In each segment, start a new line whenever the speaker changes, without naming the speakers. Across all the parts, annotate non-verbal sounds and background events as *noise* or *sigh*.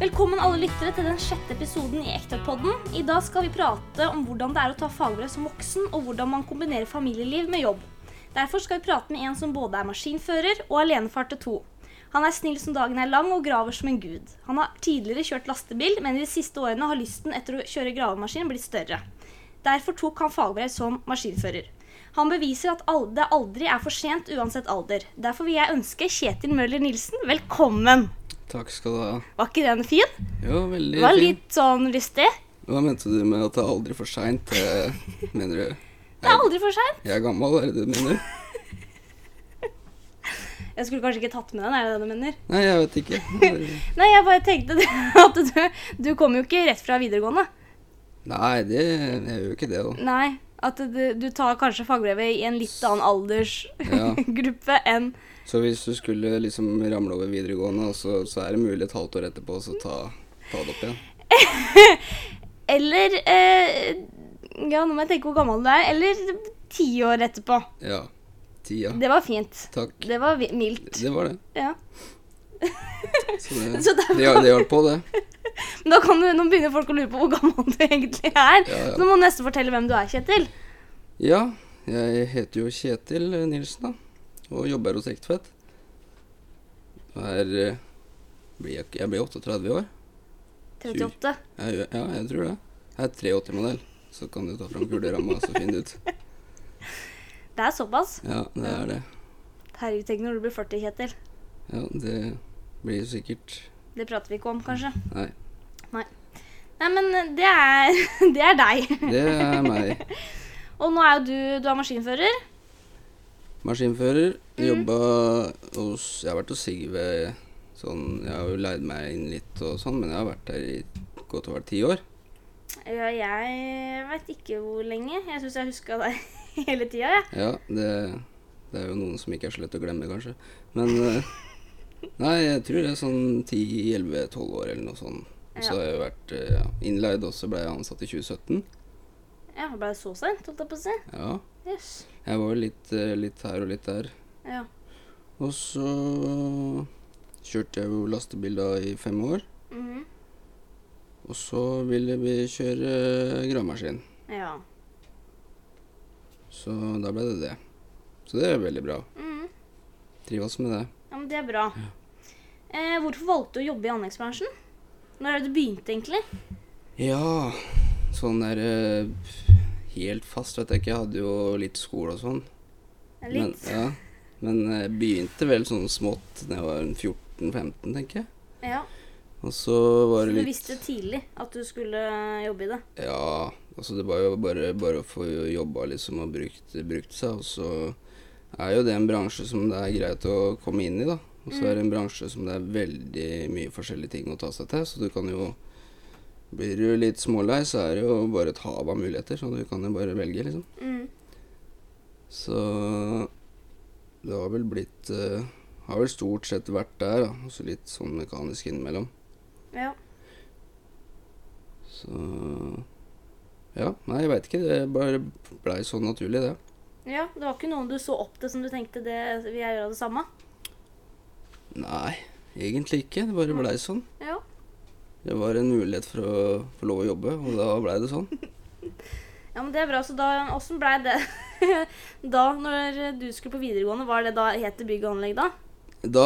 Velkommen alle lyttere til den sjette episoden i Ektapodden. I dag skal vi prate om hvordan det er å ta fagbrev som voksen, og hvordan man kombinerer familieliv med jobb. Derfor skal vi prate med en som både er maskinfører og alenefar til to. Han er snill som dagen er lang og graver som en gud. Han har tidligere kjørt lastebil, men i de siste årene har lysten etter å kjøre gravemaskin blitt større. Derfor tok han fagbrev som maskinfører. Han beviser at al- det aldri er for sent uansett alder. Derfor vil jeg ønske Kjetil Møller Nilsen velkommen.
Takk skal du ha.
Var ikke den fin?
Jo, veldig
Det var
fin.
litt sånn lystig.
Hva mente du med at det er aldri for seint? Mener du
Det er aldri for seint.
jeg er gammel, er det det du mener?
Jeg skulle kanskje ikke tatt med den, er det det du mener?
Nei, jeg vet ikke. Det-
Nei, jeg bare tenkte det *laughs* at du, du kom jo ikke rett fra videregående.
Nei, det, jeg gjør jo ikke det, da.
Nei, at du, du tar kanskje fagbrevet i en litt annen *laughs*
Ja.
aldersgruppe enn
Så hvis du skulle liksom ramle over videregående, så, så er det mulig et halvt år etterpå så ta, ta det opp igjen.
Eller eh, Ja, nå må jeg tenke hvor gammel du er. Eller ti år etterpå.
Ja. Tida.
Det var fint.
Takk.
Det var vi- mildt.
Det var det.
Ja.
Så det,
Så derfor-
det, det hjalp på, det.
Men da kan du, nå begynner folk å lure på hvor gammel du *laughs* egentlig er.
Ja, ja.
Så nå må du nesten fortelle hvem du er, Kjetil.
Ja, jeg heter jo Kjetil eh, Nilsen, da. Og jobber hos Ektvedt. Er eh, blir Jeg jeg blir 38 i år.
38.
Jeg, gjør- ja, jeg tror det. Jeg er 83-modell, så kan du ta fram kuleramma og så finne ut.
Det er såpass.
Ja, det er det.
Herregud, tenk når du blir 40, Kjetil.
Ja, det blir sikkert
Det prater vi ikke om, kanskje.
Nei.
Nei, men det er, *laughs* det er deg.
Det er meg.
Og nå er jo du, du er maskinfører.
Maskinfører. Jobba hos Jeg har vært hos Sigve sånn Jeg har jo leid meg inn litt og sånn, men jeg har vært der i godt over ti år.
Ja, jeg vet ikke hvor lenge. Jeg syns jeg huska deg *laughs* hele tida, jeg.
Ja, det, det er jo noen som ikke er så lett å glemme, kanskje. Men eh, Nei, jeg tror det er sånn 10-11-12 år eller noe sånt. Og så
Ja.
har jeg vært eh, ja, innleid, og så ble jeg ansatt i 2017.
Ja, ble det så seint, holdt jeg på å si.
Ja.
Jøss.
Jeg var jo litt, eh, litt her og litt der.
Ja.
Og så eh, kjørte jeg jo lastebil da i fem år.
Mhm.
Og så ville vi kjøre eh, gravemaskin.
ja.
Så da ble det det. Så det er veldig bra.
Mhm.
Trives med det.
ja, men det er bra. Eh, hvorfor valgte du å jobbe i anleggsbransjen? Når er det du begynte, egentlig?
Ja, sånn der eh, Helt fast vet jeg ikke. Jeg hadde jo litt skole og sånn.
Litt?
Men, ja. Men jeg begynte vel sånn smått da jeg var en 14-15, tenker jeg.
ja.
Og så var
Så
det
du
litt
visste tidlig at du skulle eh, jobbe i det?
Ja, altså det var jo bare, bare å få jobba liksom og brukt, brukt seg, og så er jo det en bransje som det er greit å komme inn i, da. Og så er det en bransje som det er veldig mye forskjellige ting å ta seg til, så du kan jo Blir du litt smålei, så er det jo bare et hav av muligheter, så du kan jo bare velge, liksom.
Mhm.
Så det har vel blitt eh, Har vel stort sett vært der, da. Og så litt sånn mekanisk innimellom.
Ja.
Så Ja, nei, jeg veit ikke. Det bare blei så naturlig, det.
ja. Det var ikke noen du så opp til som du tenkte det, vil jeg gjøre det samme?
Nei, egentlig ikke. Det bare blei sånn.
Ja.
Det var en mulighet for å få lov å jobbe, og da blei det sånn.
Ja, men det er bra. Så da, åssen blei det *laughs* da, når du skulle på videregående? Var det da het det bygg og anlegg da?
Da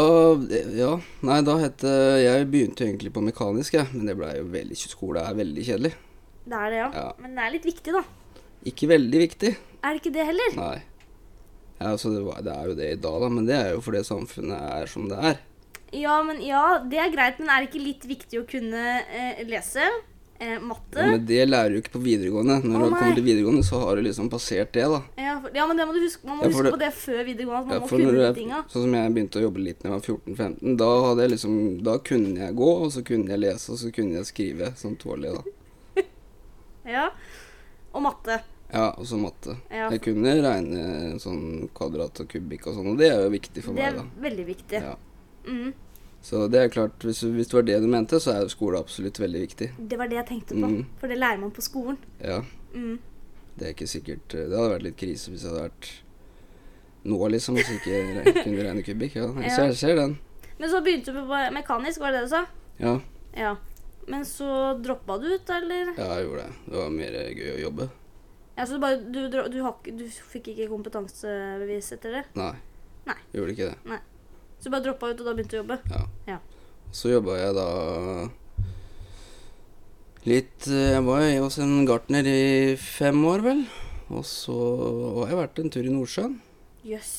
Ja, nei, da het det Jeg begynte jo egentlig på mekanisk, jeg, men det blei jo veldig Skole er veldig kjedelig.
Det er det, ja.
Ja.
Men det er litt viktig, da.
Ikke veldig viktig.
Er det ikke det heller?
Nei. Ja, altså det, var, det er jo det i dag, da, men det er jo fordi samfunnet er som det er.
Ja, men ja, det er greit, men er det ikke litt viktig å kunne eh, lese? Eh, matte?
Men det lærer du ikke på videregående. Når
Å,
du
nei.
kommer til videregående, så har du liksom passert det, da.
Ja, for, ja, men det må du huske, man må
Ja, for
huske
det-
på det før videregående. at Man
Ja,
må
for når
kunne de
jeg-
tinga.
sånn som jeg begynte å jobbe litt når jeg var 14-15, da hadde jeg liksom Da kunne jeg gå, og så kunne jeg lese, og så kunne jeg skrive som tålelig, da.
Ja. Og matte.
Ja, og så matte.
Ja,
Jeg kunne regne sånn kvadrat og kubikk og sånn, og det er jo viktig for
det
meg,
er
da.
veldig viktig.
Ja.
Mm,
Så det er klart, hvis, hvis det var det du mente, så er jo skole absolutt veldig viktig.
det var det jeg tenkte på.
Mm.
For det lærer man på skolen.
Ja.
Mm.
Det er ikke sikkert eh, Det hadde vært litt krise hvis jeg hadde vært nå, liksom, og så ikke re-
*laughs*
kunne regne kubikk. Ja, jeg
Ja.
ser, jeg ser den.
Men så begynte du på mekanisk, var det det du sa?
Ja.
Ja. Men så droppa du ut, eller?
Ja, jeg gjorde det. Det var mer gøy å jobbe.
Ja, så du, bare, du, dro- du, har ikke- du fikk ikke kompetansebevis etter det?
Nei.
Nei.
Gjorde ikke det.
Så du bare droppa ut, og da begynte du å jobbe?
Så jobba jeg da litt eh, Jeg var jo hos en gartner i fem år, vel. Og så har jeg vært en tur i Nordsjøen.
Jøss.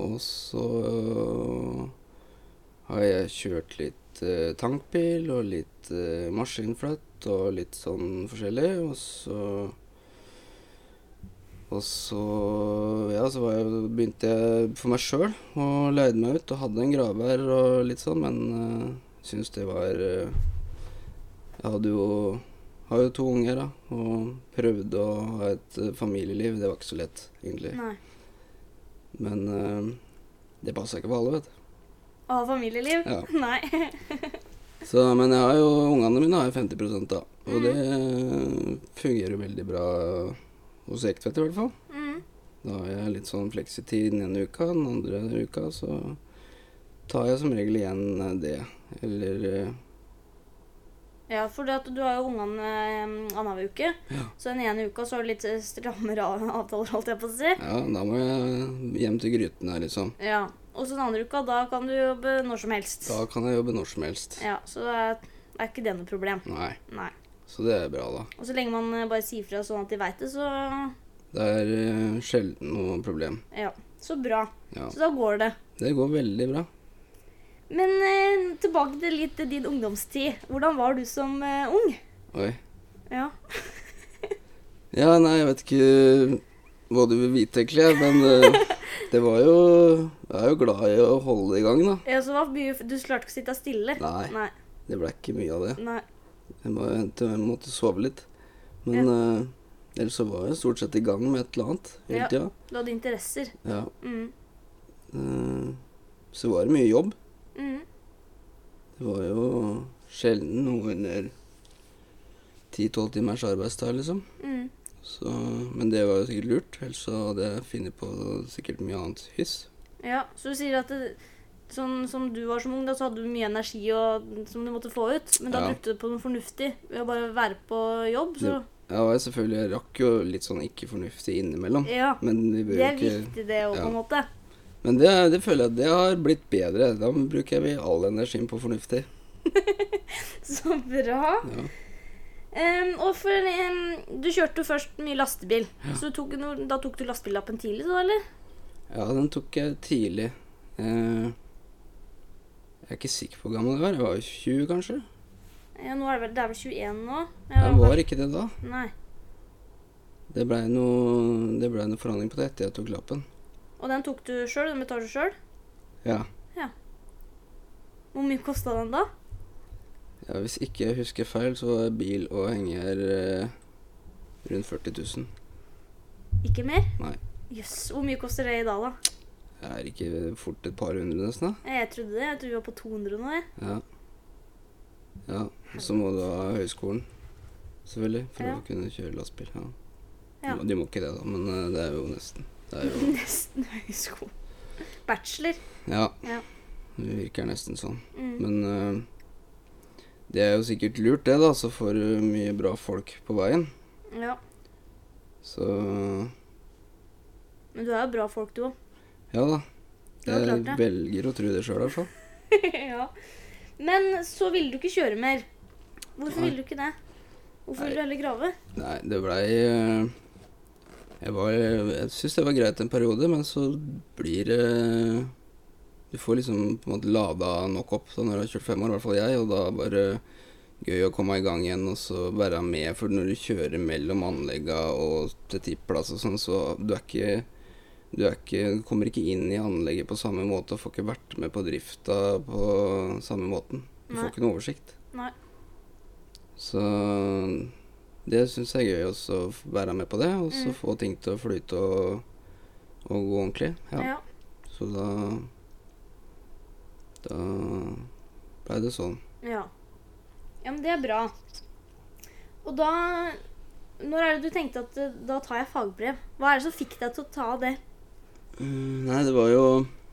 Og så eh, har jeg kjørt litt eh, tankbil og litt eh, maskinfløtt og litt sånn forskjellig. Og så Og så Ja, så var jeg, begynte jeg for meg sjøl og leide meg ut og hadde en gravvær og litt sånn, men uh, syns det var eh, Jeg hadde jo har jo to unger, da, og prøvde å ha et eh, familieliv. Det var ikke så lett, egentlig.
Nei.
Men eh, det passer ikke for alle, vet du.
Å ha familieliv?
Ja.
*laughs* Nei.
Så, men jeg har jo, ungene mine har jo 50 da, og det eh, fungerer jo veldig bra hos Ektvedt i hvert fall.
Mm.
Da har jeg litt sånn fleksitid den ene uka, den andre uka så tar jeg som regel igjen eh, det. Eller eh,
Ja, for at du har jo ungene eh, annenhver uke.
Ja.
Så den ene uka så har du litt eh, strammere av- avtaler, holdt jeg på å si.
ja, da må jeg hjem til grytene, liksom.
Ja. Og så den andre uka, da kan du jobbe når som helst.
Da kan jeg jobbe når som helst.
Ja, Så det er, er ikke det noe problem.
Nei,
Nei.
så det er bra, da.
Og så lenge man eh, bare sier fra sånn at de veit det, så
Det er eh, sjelden noe problem.
Ja. Så bra.
Ja.
Så da går det.
Det går veldig bra.
Men eh, tilbake til litt eh, din ungdomstid. Hvordan var du som eh, ung?
Oi.
Ja.
Ja, nei, jeg vet ikke hva du vil vite egentlig, men eh, det var jo Jeg er jo glad i å holde det i gang, da.
Ja, så var mye, Du klarte ikke å sitte stille?
Nei.
Nei.
Det ble ikke mye av det.
Nei.
Jeg, må, jeg måtte sove litt. Men eh, ellers så var jeg stort sett i gang med et eller annet hele
Ja.
tida.
Du hadde interesser.
Ja.
Mm.
eh, så var det mye jobb.
Mm.
Det var jo sjelden noe under 10-12 timers arbeidstid, liksom.
Mm.
Så, men det var jo sikkert lurt, ellers så hadde jeg funnet på sikkert mye annet hyss.
Ja, så du sier at det, sånn som du var som ung, da, så hadde du mye energi og, som du måtte få ut. Men da
Ja.
brukte du det på noe fornuftig ved å bare være på jobb. Så
Ja, og jeg selvfølgelig jeg rakk jo litt sånn ikke fornuftig innimellom.
ja.
Men vi bør
Det
jo
er
ikke
viktig, det òg, på en måte. *laughs*
Men det, det føler jeg at det har blitt bedre. Da bruker vi all energien på fornuftig.
Så bra.
Ja.
Em, og for em, Du kjørte jo først mye lastebil. Så du tok, noe- da tok du lastebillappen tidlig, da, eller?
ja, den tok jeg tidlig. Eh, jeg er ikke sikker på hvor gammel jeg var. Jeg var jo 20, kanskje?
Ja, nå er det, vel, det er vel 21 nå? Ja,
Jeg var ikke det da.
Nei.
Det blei noe, det ble noe forhandling på det etter jeg tok lappen.
Og den tok du sjøl? Den betalte du sjøl?
Ja.
Hvor mye kosta den da?
ja. Hvis ikke jeg husker feil, så var bil og henger eh, rundt 40 000.
Ikke mer?
Nei.
Jøss. Hvor mye koster det i dag, da?
Det er ikke fort et par hundre, nesten? da.
Jeg trodde det. Jeg tror vi var på 200 nå. jeg. *laughs*
Ja. Ja, og så må du ha høyskolen, selvfølgelig, for
Ja.
å kunne kjøre lastebil. Ja.
Ja.
Du, må, du må ikke det, da, men eh, det er jo nesten. Det er jo,
Nesten høyskole. Bachelor.
ja.
Ja.
Det virker nesten sånn.
Mm.
Men eh, det er jo sikkert lurt, det, da, så får du mye bra folk på veien.
Ja.
Så
Men du er jo bra folk, du òg.
ja da.
Ja,
Jeg
klart det.
velger å tro det sjøl, i hvert fall.
*laughs* ja. Men så ville du ikke kjøre mer. Hvorfor
Nei.
ville du ikke det? Hvorfor
Nei.
ville du heller grave?
Nei, det blei eh, Jeg, var- jeg syns det var greit en periode, men så blir det Du får liksom på en måte lada nok opp da når du har kjørt fem år, i hvert fall jeg, og da var det gøy å komme i gang igjen og så være med. For når du kjører mellom anlegga og til tippplass og sånn, så du er ikke du er ikke, du kommer ikke inn i anlegget på samme måte og får ikke vært med på drifta på samme måten. Du
Nei.
får ikke noe oversikt.
Nei.
Så det syns jeg er gøy også, å f- være med på det, og så
Mm.
få ting til å flyte og, og gå ordentlig. Ja.
Ja.
Så da Da blei det sånn.
ja. Ja, men det er bra. Og da Når er det du tenkte at eh, da tar jeg fagbrev? Hva er det som fikk deg til å ta det?
Mm, Nei, det var jo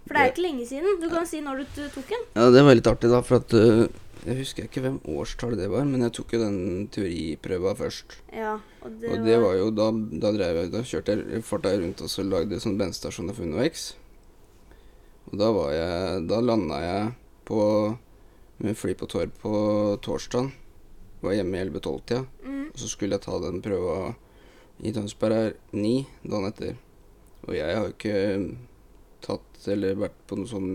For det er jo ikke lenge siden. Du kan si når du t- tok den.
Ja, det var litt artig, da, for at eh, Jeg husker ikke hvem årstall det var, men jeg tok jo den teoriprøva først.
Ja, og det,
og det var jo da, da drev jeg, da kjørte jeg farta rundt og så lagde sånn bensinstasjoner for UnoX. Og da var jeg Da landa jeg på med fly på Torp på torsdagen. Var hjemme i 11-12-tida.
mm,
Og så skulle jeg ta den prøva i Tønsberg her ni dagen etter. Og jeg har jo ikke tatt eller vært på noe sånn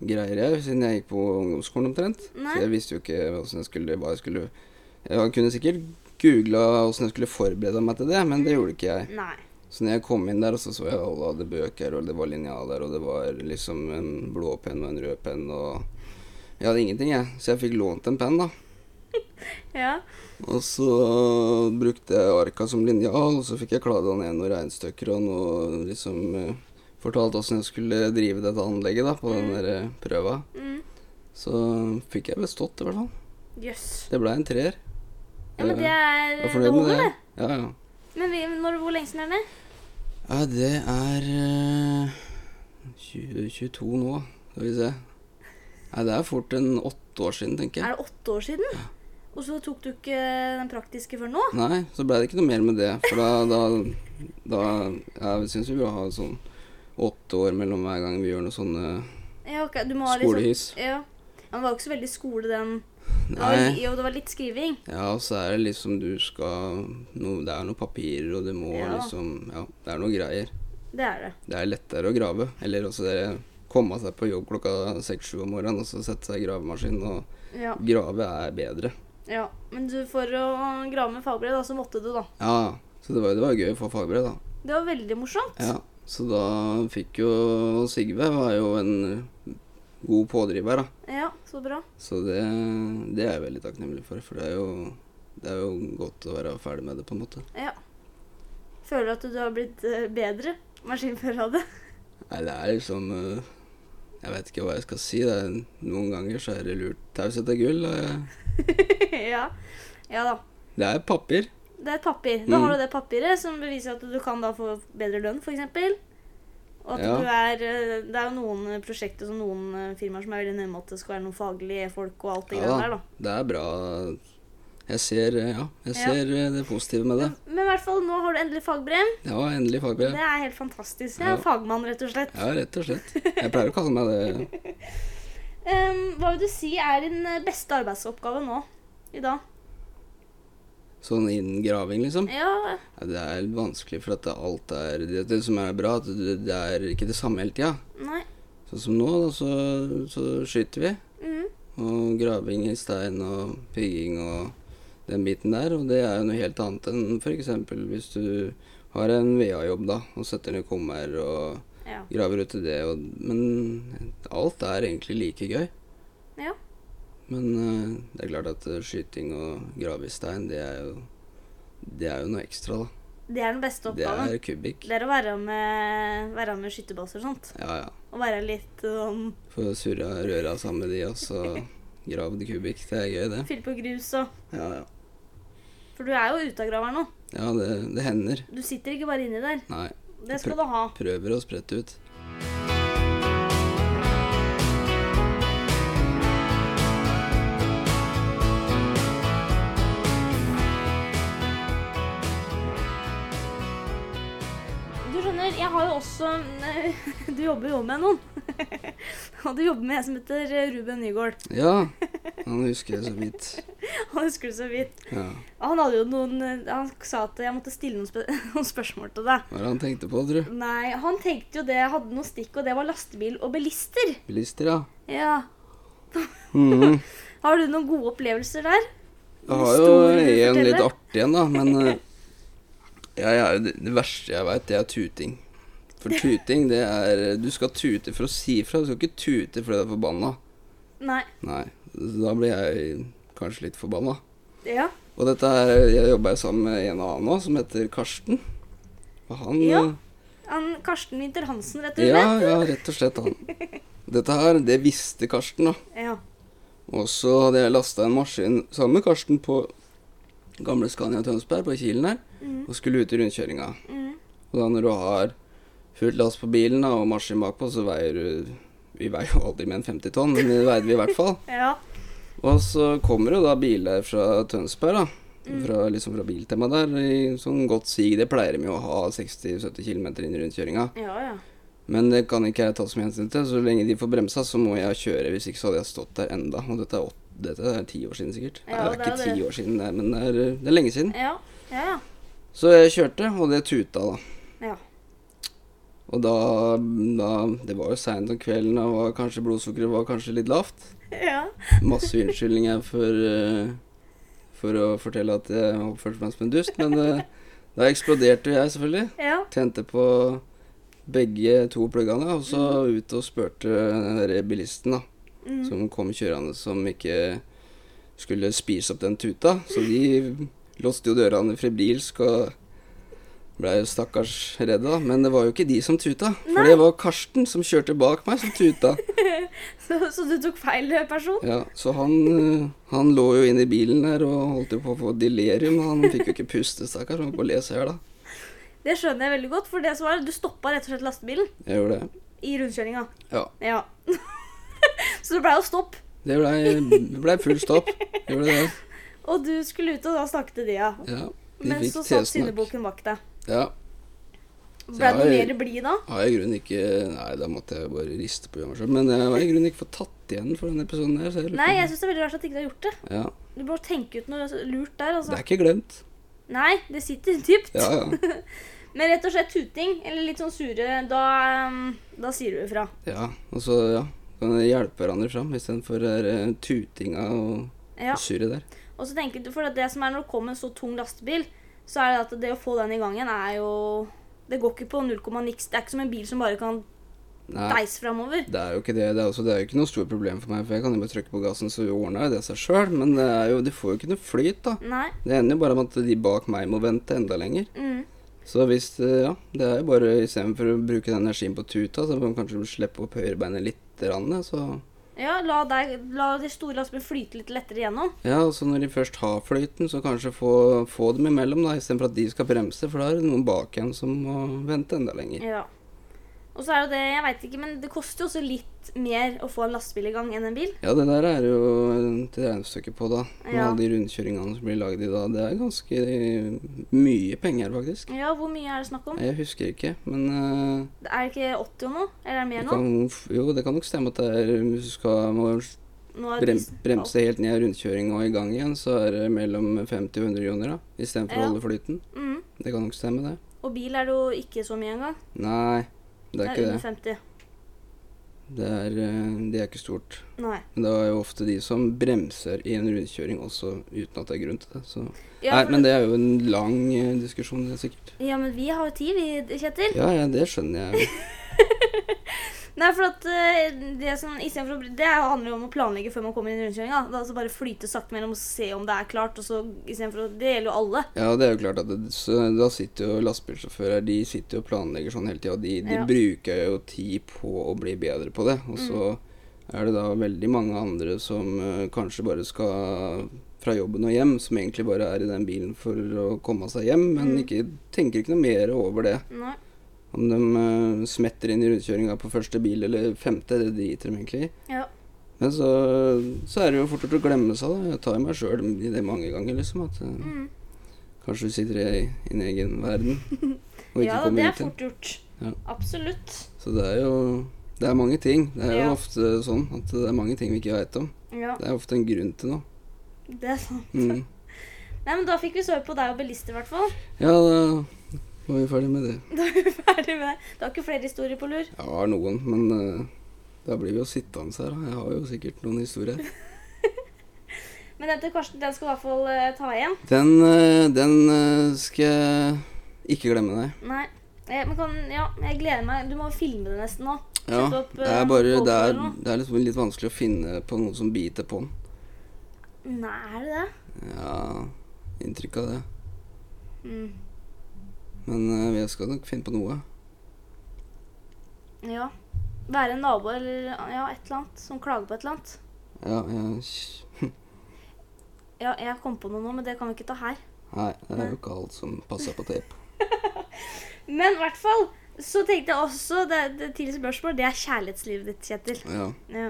greier, jeg, siden jeg gikk på ungdomsskolen omtrent.
Nei.
Så jeg visste jo ikke hvordan jeg skulle, hva jeg skulle Jeg kunne sikkert googla åssen jeg skulle forberede meg til det, men det gjorde ikke jeg.
Nei.
Så når jeg kom inn der, og så så jeg alle hadde bøker, og det var linjaler, og det var liksom en blå penn og en rød penn, og Jeg hadde ingenting, jeg. Så jeg fikk lånt en penn, da.
Ja.
Og så brukte jeg arka som linjal, og så fikk jeg klada ned noen regnestykker og noe liksom eh, Fortalt åssen jeg skulle drive dette anlegget da, på den der eh, prøva.
Mm.
Så fikk jeg bestått, i hvert fall.
Jøs.
Det ble en treer.
Ja, men det er
Jeg er
Eh, Det
fornøyd med
holder,
det.
det.
Ja, ja.
Men vi, når, hvor lenge siden er det?
ja det er eh, 2022 nå, skal vi se. Nei, det er fort en åtte år siden, tenker jeg.
Er det åtte år siden? Og så tok du ikke eh, den praktiske før nå?
Nei, så ble det ikke noe mer med det. For da, da, da Jeg syns vi bør ha sånn åtte år mellom hver gang vi gjør noe sånne
Ja, ok, du må ha liksom-
skolehys.
Ja. ja. Men det var jo ikke så veldig skole, den. Det var,
Nei.
Jo, det var sånn- litt skriving.
Ja, og så er det liksom du skal no, Det er noen papirer, og du må
Ja.
liksom Ja, det er noe greier.
Det er det.
Det er lettere å grave. Eller også det komme seg på jobb klokka seks-sju om morgenen og så sette seg i gravemaskin. Og
Ja.
grave er bedre.
ja. Men du, for å grave med fagbrev, da, så måtte du, da.
Ja, så det var, det var gøy å få fagbrev, da.
Det var veldig morsomt.
Ja, så da fikk jo Sigve var jo en god pådriver, da.
Ja, så bra.
Så det, det er jeg veldig takknemlig for, for det er, jo, det er jo godt å være ferdig med det, på en måte.
Ja. Føler du at du har blitt eh, bedre maskinfører av det? *laughs*
Nei, det er liksom eh, Jeg vet ikke hva jeg skal si. Det er, noen ganger så er det lurt. Taushet er gull. og
ja. Ja da.
Det er papir.
Det er et papir. Da har
Mm.
du det papiret som beviser at du kan da få bedre lønn, f.eks. Og at
Ja.
du er eh, Det er jo noen prosjekter som noen eh, firmaer som er veldig nøye med at det skal være noen faglige folk og alt det
Ja
greiene
da.
der, da.
Det er bra. Jeg ser, eh, ja,
Ja.
jeg ser eh, det positive med det.
Men i hvert fall, nå har du endelig fagbrev.
Ja, endelig fagbrev.
Det er helt fantastisk. Jeg
Ja.
er fagmann, rett og slett.
Ja, rett og slett. Jeg pleier å kalle meg det.
Ehm, hva vil du si er din eh, beste arbeidsoppgave nå? I dag?
Sånn inngraving, liksom.
Ja,
Ja, det er litt vanskelig, for at det- alt er det, det som er bra, at det, det er ikke det samme hele tida.
nei
Sånn som nå, da, så, så skyter vi.
mm.
Og graving i stein og pigging og den biten der. Og det er jo noe helt annet enn f.eks. hvis du har en VA-jobb, da, og setter ned kummer og
Ja.
graver ut til det. Og, men alt er egentlig like gøy.
ja.
Men eh, det er klart at eh, skyting og grave i stein, det er jo det er jo noe ekstra, da.
Det er den beste
Det
oppgaven.
er kubikk.
Det er å være med, være med skytterbåser og sånt.
Ja, ja.
Og være litt sånn
Få surra røra sammen med de, og *laughs* så gravd kubikk. Det er gøy, det.
Fylle på grus og
Ja, ja.
For du er jo ute av graveren nå.
ja det, det hender.
Du sitter ikke bare inni der.
Nei.
Det skal du ha.
Prøver å sprette ut.
Du skjønner, jeg har jo også *laughs* Du jobber jo med noen. *laughs* Og du jobber med en som heter eh, Ruben Nygaard.
Ja, han husker jeg så vidt.
Han husker du så vidt.
Ja.
Han hadde jo noen eh, Han sa at jeg måtte stille noen, spø *laughs* noen spørsmål til deg.
Hva er det han tenkte på, tror du?
Nei, han tenkte jo det. Jeg hadde noen stikk, og det var lastebil og bilister.
Bilister, ja.
Ja.
Mhm.
Har du noen gode opplevelser der?
Jeg har jo
Historie du
en litt
forteller?
artig en, da, men eh, jeg er, jo- det verste jeg veit, det er tuting. For tuting, det er Du skal tute for å si ifra, du skal ikke tute fordi du er forbanna.
Nei.
Nei. Så da blir jeg kanskje litt forbanna.
Ja.
Og dette her, jeg jobber sammen med en annen nå, som heter Karsten. Og han
Ja.
eh,
Han, Karsten Winther Hansen, rett og
Ja,
slett.
ja, rett og slett han. Dette her, det visste Karsten, da.
Ja.
Og så hadde jeg lasta en maskin sammen med Karsten på gamle Scania Tønsberg, på Kilen her,
Mhm.
og skulle ut i rundkjøringa.
Mm.
Og da når du har fullt lass på bilen da, og maskin bakpå, så veier du Vi veier jo aldri mer enn 50 tonn, men det veide vi i hvert fall.
Ja.
Og så kommer det da biler fra Tønsberg, da.
Mm.
Fra, liksom fra Biltema der. I sånn godt sig. Det pleier de jo å ha 60-70 km inn i rundkjøringa.
Ja, ja.
Men det kan ikke jeg ta som hensyn til. Så lenge de får bremsa, så må jeg kjøre. Hvis ikke så hadde jeg stått der enda. Og dette er, åt, dette er ti år siden sikkert.
Ja,
Nei, det er
det er
ikke
det.
ti år siden, det, men det er, det er lenge siden.
Ja, ja, ja.
Så jeg kjørte, og det tuta, da.
ja.
Og da, da Det var jo seint om kvelden, og var kanskje blodsukkeret var kanskje litt lavt.
ja.
Masse unnskyldninger for, eh, for å fortelle at jeg oppførte meg som en dust, men eh, da eksploderte jo jeg, selvfølgelig.
ja.
Tente på begge to pluggene, og så ut og spurte den der bilisten, da.
Mm.
som kom kjørende som ikke skulle spise opp den tuta. Så de låste jo dørene febrilsk og blei jo stakkars redde, da. Men det var jo ikke de som tuta, for det var Karsten som kjørte bak meg, som tuta.
Så, så du tok feil eh, person?
Ja, så han, eh, han lå jo inne i bilen der og holdt jo på å få delirium. Han fikk jo ikke puste, stakkars. Han holdt på å lese her, da.
Det skjønner jeg veldig godt, for det som var, du stoppa rett og slett lastebilen
Jeg gjorde det.
i rundkjøringa.
Ja.
Ja. *laughs* så det blei jo stopp.
Det blei ble full stopp. Gjorde det.
Og du skulle ut og da snakke til de, ja.
Ja. De
Men
fikk
så satt
tesnakk.
syndebukken bak deg.
Ja.
Ble du
jeg-
mer blid da?
har jeg i grunnen ikke Nei, da måtte jeg bare riste på meg selv. Men jeg har i grunnen ikke fått tatt igjen for denne episoden her. Så jeg lurer på-
Nei, jeg syns det er veldig rart at ikke du har gjort det.
ja,
Du må tenke ut noe lurt der,
Det
altså.
er ikke glemt.
Nei, det sitter dypt.
Ja, ja.
Men rett og slett tuting, eller litt sånn sure, da, ehm, da sier du ifra.
ja. Og så, ja. Kan jeg hjelpe hverandre fram istedenfor det der, eh, tutinga og
Ja.
surret der.
Og så tenker du, for at det som er når det kommer en så tung lastebil, så er det at det å få den i gang igjen er jo Det går ikke på 0, niks. Det er ikke som en bil som bare kan
Nei,
deise framover.
det er jo ikke det. Det er, også, det er jo ikke noe stort problem for meg, for jeg kan jo bare trykke på gassen, så ordner jo det seg sjøl. Men det er jo, de får jo ikke noe flyt, da.
Nei.
Det ender jo bare med at de bak meg må vente enda lenger.
Mm.
Så hvis, eh, ja, det er jo bare istedenfor å bruke den energien på tuta, så kan man kanskje slippe opp høyrebeinet litt, rann, så
Ja, la, deg, la de store lastebilene flyte litt lettere gjennom.
Ja, og så når de først har flyten, så kanskje få, få dem imellom, da, istedenfor at de skal bremse, for da er det noen bak igjen som må vente enda lenger.
Ja. Og så er jo det, jeg vet ikke, men det koster jo også litt mer å få en lastebil i gang enn en bil.
Ja, det der er jo til regnestykke på, da. Med
Ja.
alle de rundkjøringene som blir lagd i dag. Det er ganske mye penger, faktisk.
Ja, hvor mye er det snakk om?
Jeg husker ikke, men eh,
Er det ikke 80 og noe? Eller er det
det
mer nå?
kan, Jo, det kan nok stemme at det er Hvis du skal må
nå er det
brem,
disse-
bremse helt ned i rundkjøring og i gang igjen, så er det mellom 50 og 100 kroner, da. Istedenfor
Ja.
å holde flyten.
Mm.
Det kan nok stemme, det.
Og bil er det jo ikke så mye engang.
Nei, det er ikke
under
det.
50.
Det er, eh, det er ikke stort.
Nei.
Men det er jo ofte de som bremser i en rundkjøring også uten at det er grunn til det. Så.
Ja,
Nei,
for-
men det er jo en lang eh, diskusjon, det er sikkert.
Ja, men vi har jo tid, vi, Kjetil.
Ja, ja, det skjønner jeg. jo.
Nei, for at eh, det som i stedet for å bli- Det handler jo om å planlegge før man kommer inn i rundkjøringa. Da Altså bare flyte sakte mellom og se om det er klart, og så i stedet for å Det gjelder jo alle.
Ja, det er jo klart at det, så, da sitter jo lastebilsjåfører de sitter jo og planlegger sånn hele tida. De, de
Ja.
bruker jo tid på å bli bedre på det. Og så
Mm.
er det da veldig mange andre som eh, kanskje bare skal fra jobben og hjem, som egentlig bare er i den bilen for å komme seg hjem, men
Mm.
ikke, tenker ikke noe mer over det.
Nei.
Om de eh, smetter inn i rundkjøringa på første bil eller femte, det driter de egentlig i.
Ja.
Men så, så er det jo fort gjort å glemme seg. da. Jeg tar jo meg sjøl i det mange ganger. liksom, At eh,
Mm.
kanskje du sitter i din egen verden
*laughs*
og ikke
ja, det
kommer
er
ut igjen.
fort gjort.
Ja.
Absolutt.
Så det er jo det er mange ting. Det er
Ja.
jo ofte sånn at det er mange ting vi ikke veit om.
Ja,
Det er ofte en grunn til noe.
det er sant. *laughs*
Mm.
Nei, men da fikk vi sove på deg og bilister, i hvert fall. *laughs*
Ja, da var vi ferdig med det.
Da er vi ferdig med det. Du har ikke flere historier på lur?
Jeg har noen, men eh, da blir vi jo sittende her. da. Jeg har jo sikkert noen historier.
Men den til Karsten, den skal du i hvert fall eh, ta igjen.
Den, eh, den eh, skal jeg ikke glemme, nei.
Nei. Eh, men kan Ja, jeg gleder meg. Du må filme det nesten nå.
Ja,
Sette opp,
det
eh,
er bare
GoPro
det er,
eller noe?
det er liksom litt vanskelig å finne på noe som biter på den.
Nei, er det det?
Ja, inntrykk av det.
Mm.
Men eh, jeg skal nok finne på noe.
Ja. Være en nabo eller ja, et eller annet som klager på et eller annet.
Ja, jeg
Ja, jeg kom på noe nå, men det kan vi ikke ta her.
*laughs* Nei, det er jo ikke alt som passer på tape.
Men i hvert fall så tenkte jeg også det, det til spørsmål, det er kjærlighetslivet ditt, Kjetil.
Ja.
Ja.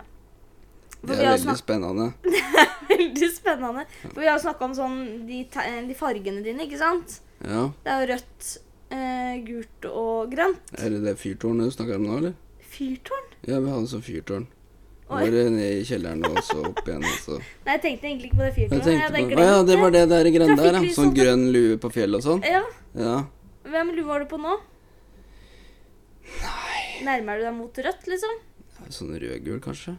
For
Det
vi
er
har
veldig
snakket
spennende.
*laughs* veldig spennende. For vi har jo snakka om sånn de, te- de fargene dine, ikke sant?
Ja,
Det er jo rødt, eh, gult og grønt.
Er det det fyrtårnet du snakker om nå, eller?
Fyrtårn?
Ja, vi hadde sånn fyrtårn. Det
Oi.
var eh, ned i kjelleren og så opp igjen. og så...
Nei, jeg tenkte egentlig ikke på det
Jeg
fyrtårnet. Jeg hadde glemt
tenkte på, Å ja, det var det der grønne der, ja.
Trafikklys
Sånn
og-
grønn lue på fjellet og sånn.
Ja.
Ja.
Hvem lue har du på nå? Nei Nærmer du deg mot rødt, liksom?
Sånn rødgul, kanskje.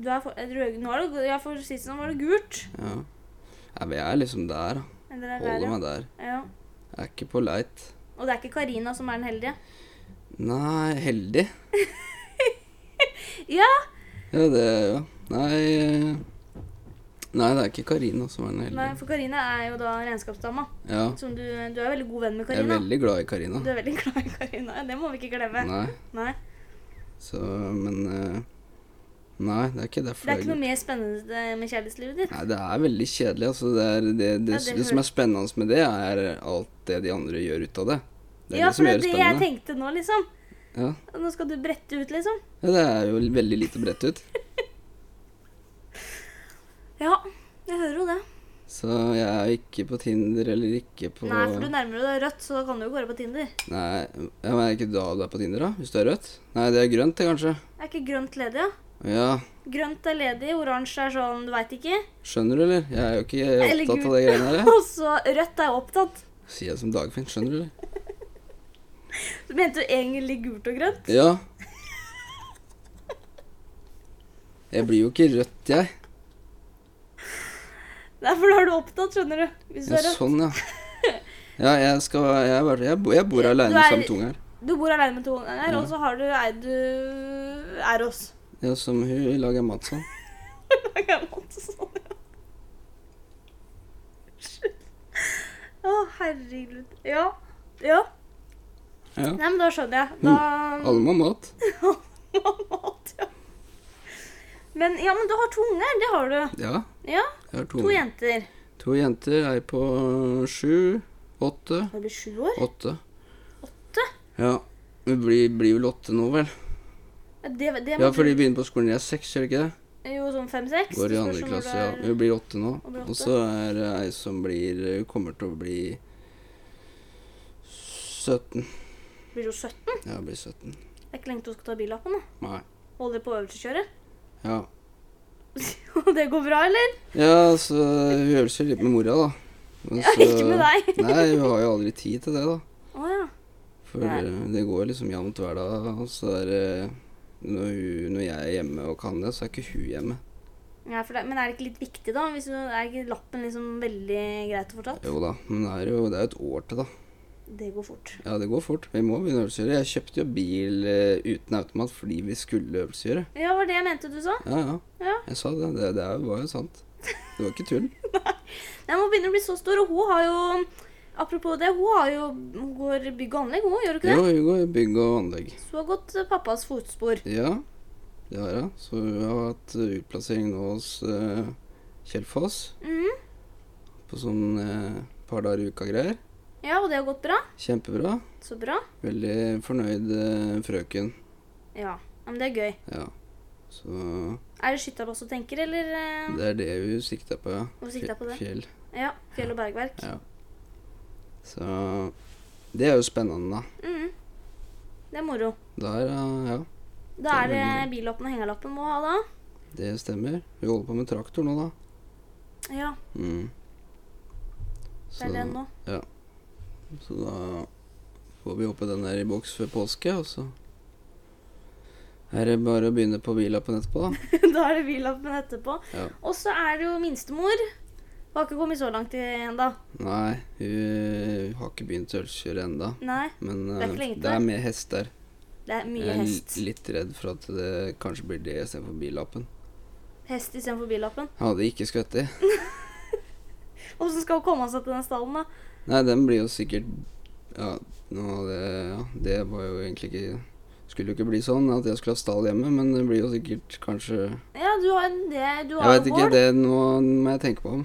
Du er for, er du rød, nå er det, ja, for sist nå var det gult.
Ja. ja vi er liksom der, da.
Eller er det der,
Holder
ja.
meg der.
ja.
Jeg er ikke på leit.
Og det er ikke Karina som er den heldige.
Nei, heldig.
Ja,
Ja, det er jo Nei eh, Nei, det er ikke Karina som er den
nei,
heldige.
for Karina er jo da regnskapsdama.
Ja.
Som du, du er veldig god venn med
Jeg er
Karina.
veldig glad i Karina.
Du er veldig glad i Karina. ja, Det må vi ikke glemme.
Nei,
Nei.
så Men eh, Nei, det er ikke
Det
derfor.
er
jeg-
ikke noe mer spennende med kjærlighetslivet ditt.
Nei, det er veldig kjedelig. Altså, det, er, det, det,
Ja,
det,
det
som er spennende med det, er alt det de andre gjør ut av det. Det er
ja,
det som
for det
gjør
er
det
det jeg
spennende.
tenkte nå, liksom.
Ja.
Nå skal du brette ut, liksom.
ja, det er jo veldig lite bredt ut.
Ja, jeg hører jo det.
Så jeg er ikke på Tinder eller ikke på
Nei, for du nærmer deg rødt, så da kan du jo gå over på Tinder.
Nei, ja, men er det ikke da du er på Tinder, da? Hvis du er rødt? Nei, det er grønt, det, kanskje.
Er ikke grønt ledig, ja?
Ja,
Grønt er ledig, oransje er sånn, du veit ikke.
skjønner du, eller? Jeg er jo ikke
Eller
opptatt
gul.
av det greiene her, jeg.
*laughs* Og så rødt er opptatt.
Sier jeg som Dagfinn, skjønner du, eller?
Du mente jo egentlig gult og grønt.
Ja. Jeg blir jo ikke rødt, jeg.
Nei, for da er du opptatt, skjønner du. Hvis du
Ja,
er rødt.
sånn, ja. Ja, jeg skal Jeg, er bare, jeg, bo- jeg bor
Du
aleine
er-
sammen med tunga her.
Du bor aleine med to unger,
Ja.
og så har du ei du er hos.
Ja, som hun lager mat sånn.
*laughs* Det kan jeg måtte sånn, ja. Å, herregud. Ja. Ja.
Ja.
Nei, men da skjønner jeg. Da
Alle må ha mat.
Mat, ja. *laughs* Men, ja, men du har to unger, det har du.
Ja,
Ja,
jeg har to,
to jenter.
to jenter. Ei på sju, åtte
Har du blitt sju år?
Åtte.
Åtte?
Ja. Vi blir, blir vel åtte nå, vel?
Ja, Det, det må
Ja, for de begynner på skolen når de er seks, gjør de ikke det?
du Jo, sånn fem-seks.
Går i andre klasse, ja. Vi blir åtte nå.
Og blir åtte.
Og så er det ei som blir Hun kommer til å bli 17.
Blir jo 17. Det
Ja, blir 17.
er ikke lenge til hun skal ta billappen. da.
Nei.
Holder på å øvelseskjøre.
Ja.
*laughs* Og det går bra, eller?
Ja, så hun øver seg litt med mora, da. Men
Ja, ikke med deg.
*laughs* Nei, hun har jo aldri tid til det, da.
Å ja.
For
Nei.
eh, det går liksom jevnt hver dag. og Så er det når, hun, når jeg er hjemme og kan det, så er ikke hun hjemme.
Nei, for det, men er det ikke litt viktig, da? Hvis du, er ikke lappen liksom veldig greit å få tatt?
Jo da, men det er jo det er jo et år til, da.
Det går fort.
Ja, det går fort. Vi må begynne å øvelseskjøre. Jeg kjøpte jo bil eh, uten automat fordi vi skulle øvelseskjøre.
Ja, var det jeg mente du sa?
Ja, ja.
Ja.
Jeg sa det. Det, det er jo- var jo sant. Det var ikke
*laughs*
tull.
Nei, Hun begynner å bli så stor, og hun har jo Apropos det, hun har jo Hun går bygg og anlegg, hun, gjør hun ikke
Jo,
det?
Hugo, bygg og anlegg.
Så hun har gått eh, pappas fotspor.
Ja, det har jeg. Så hun har hatt eh, utplassering nå hos eh, Kjell Foss
Mhm.
på sånn eh, par dager i uka-greier.
Ja, og det har gått bra?
Kjempebra.
Så bra.
Veldig fornøyd eh, frøken.
Ja. ja, Men det er gøy.
Ja. Så
Er det skytterbass du tenker, eller? eh,
det er det hun sikta på, ja.
Hun sikta på det.
Fjell.
Ja. Fjell og bergverk.
Ja. Så det er jo spennende, da.
Mhm. Det er moro.
Der, eh, ja.
Da er det
Det er veldig
billappen og hengerlappen må ha, da.
Det stemmer. Vi holder på med traktor nå, da.
Ja,
Mm.
det er den nå. *laughs*
så da får vi håpe den er i boks før påske, og så er det bare å begynne på billappen etterpå,
*laughs*
da.
da er det billappen etterpå.
Ja.
Og så er det jo minstemor. Hun har ikke kommet så langt ennå.
Nei, hun har ikke begynt å ølkjøre ennå.
Nei,
Men
Det er
eh,
ikke lenge til.
det er med hest der.
det er mye
Jeg er
hest.
l- litt redd for at det kanskje blir det istedenfor billappen.
Hest istedenfor billappen.
Jeg hadde ikke skvett i.
Åssen skal hun komme seg til den stallen, da?
Nei, den blir jo sikkert Ja, nå hadde ja, det var jo egentlig ikke Skulle jo ikke bli sånn at jeg skulle ha stall hjemme, men det blir jo sikkert kanskje
Ja, du har en det, du
Jeg
har
veit
jo
ikke,
gård.
det nå må jeg tenke på.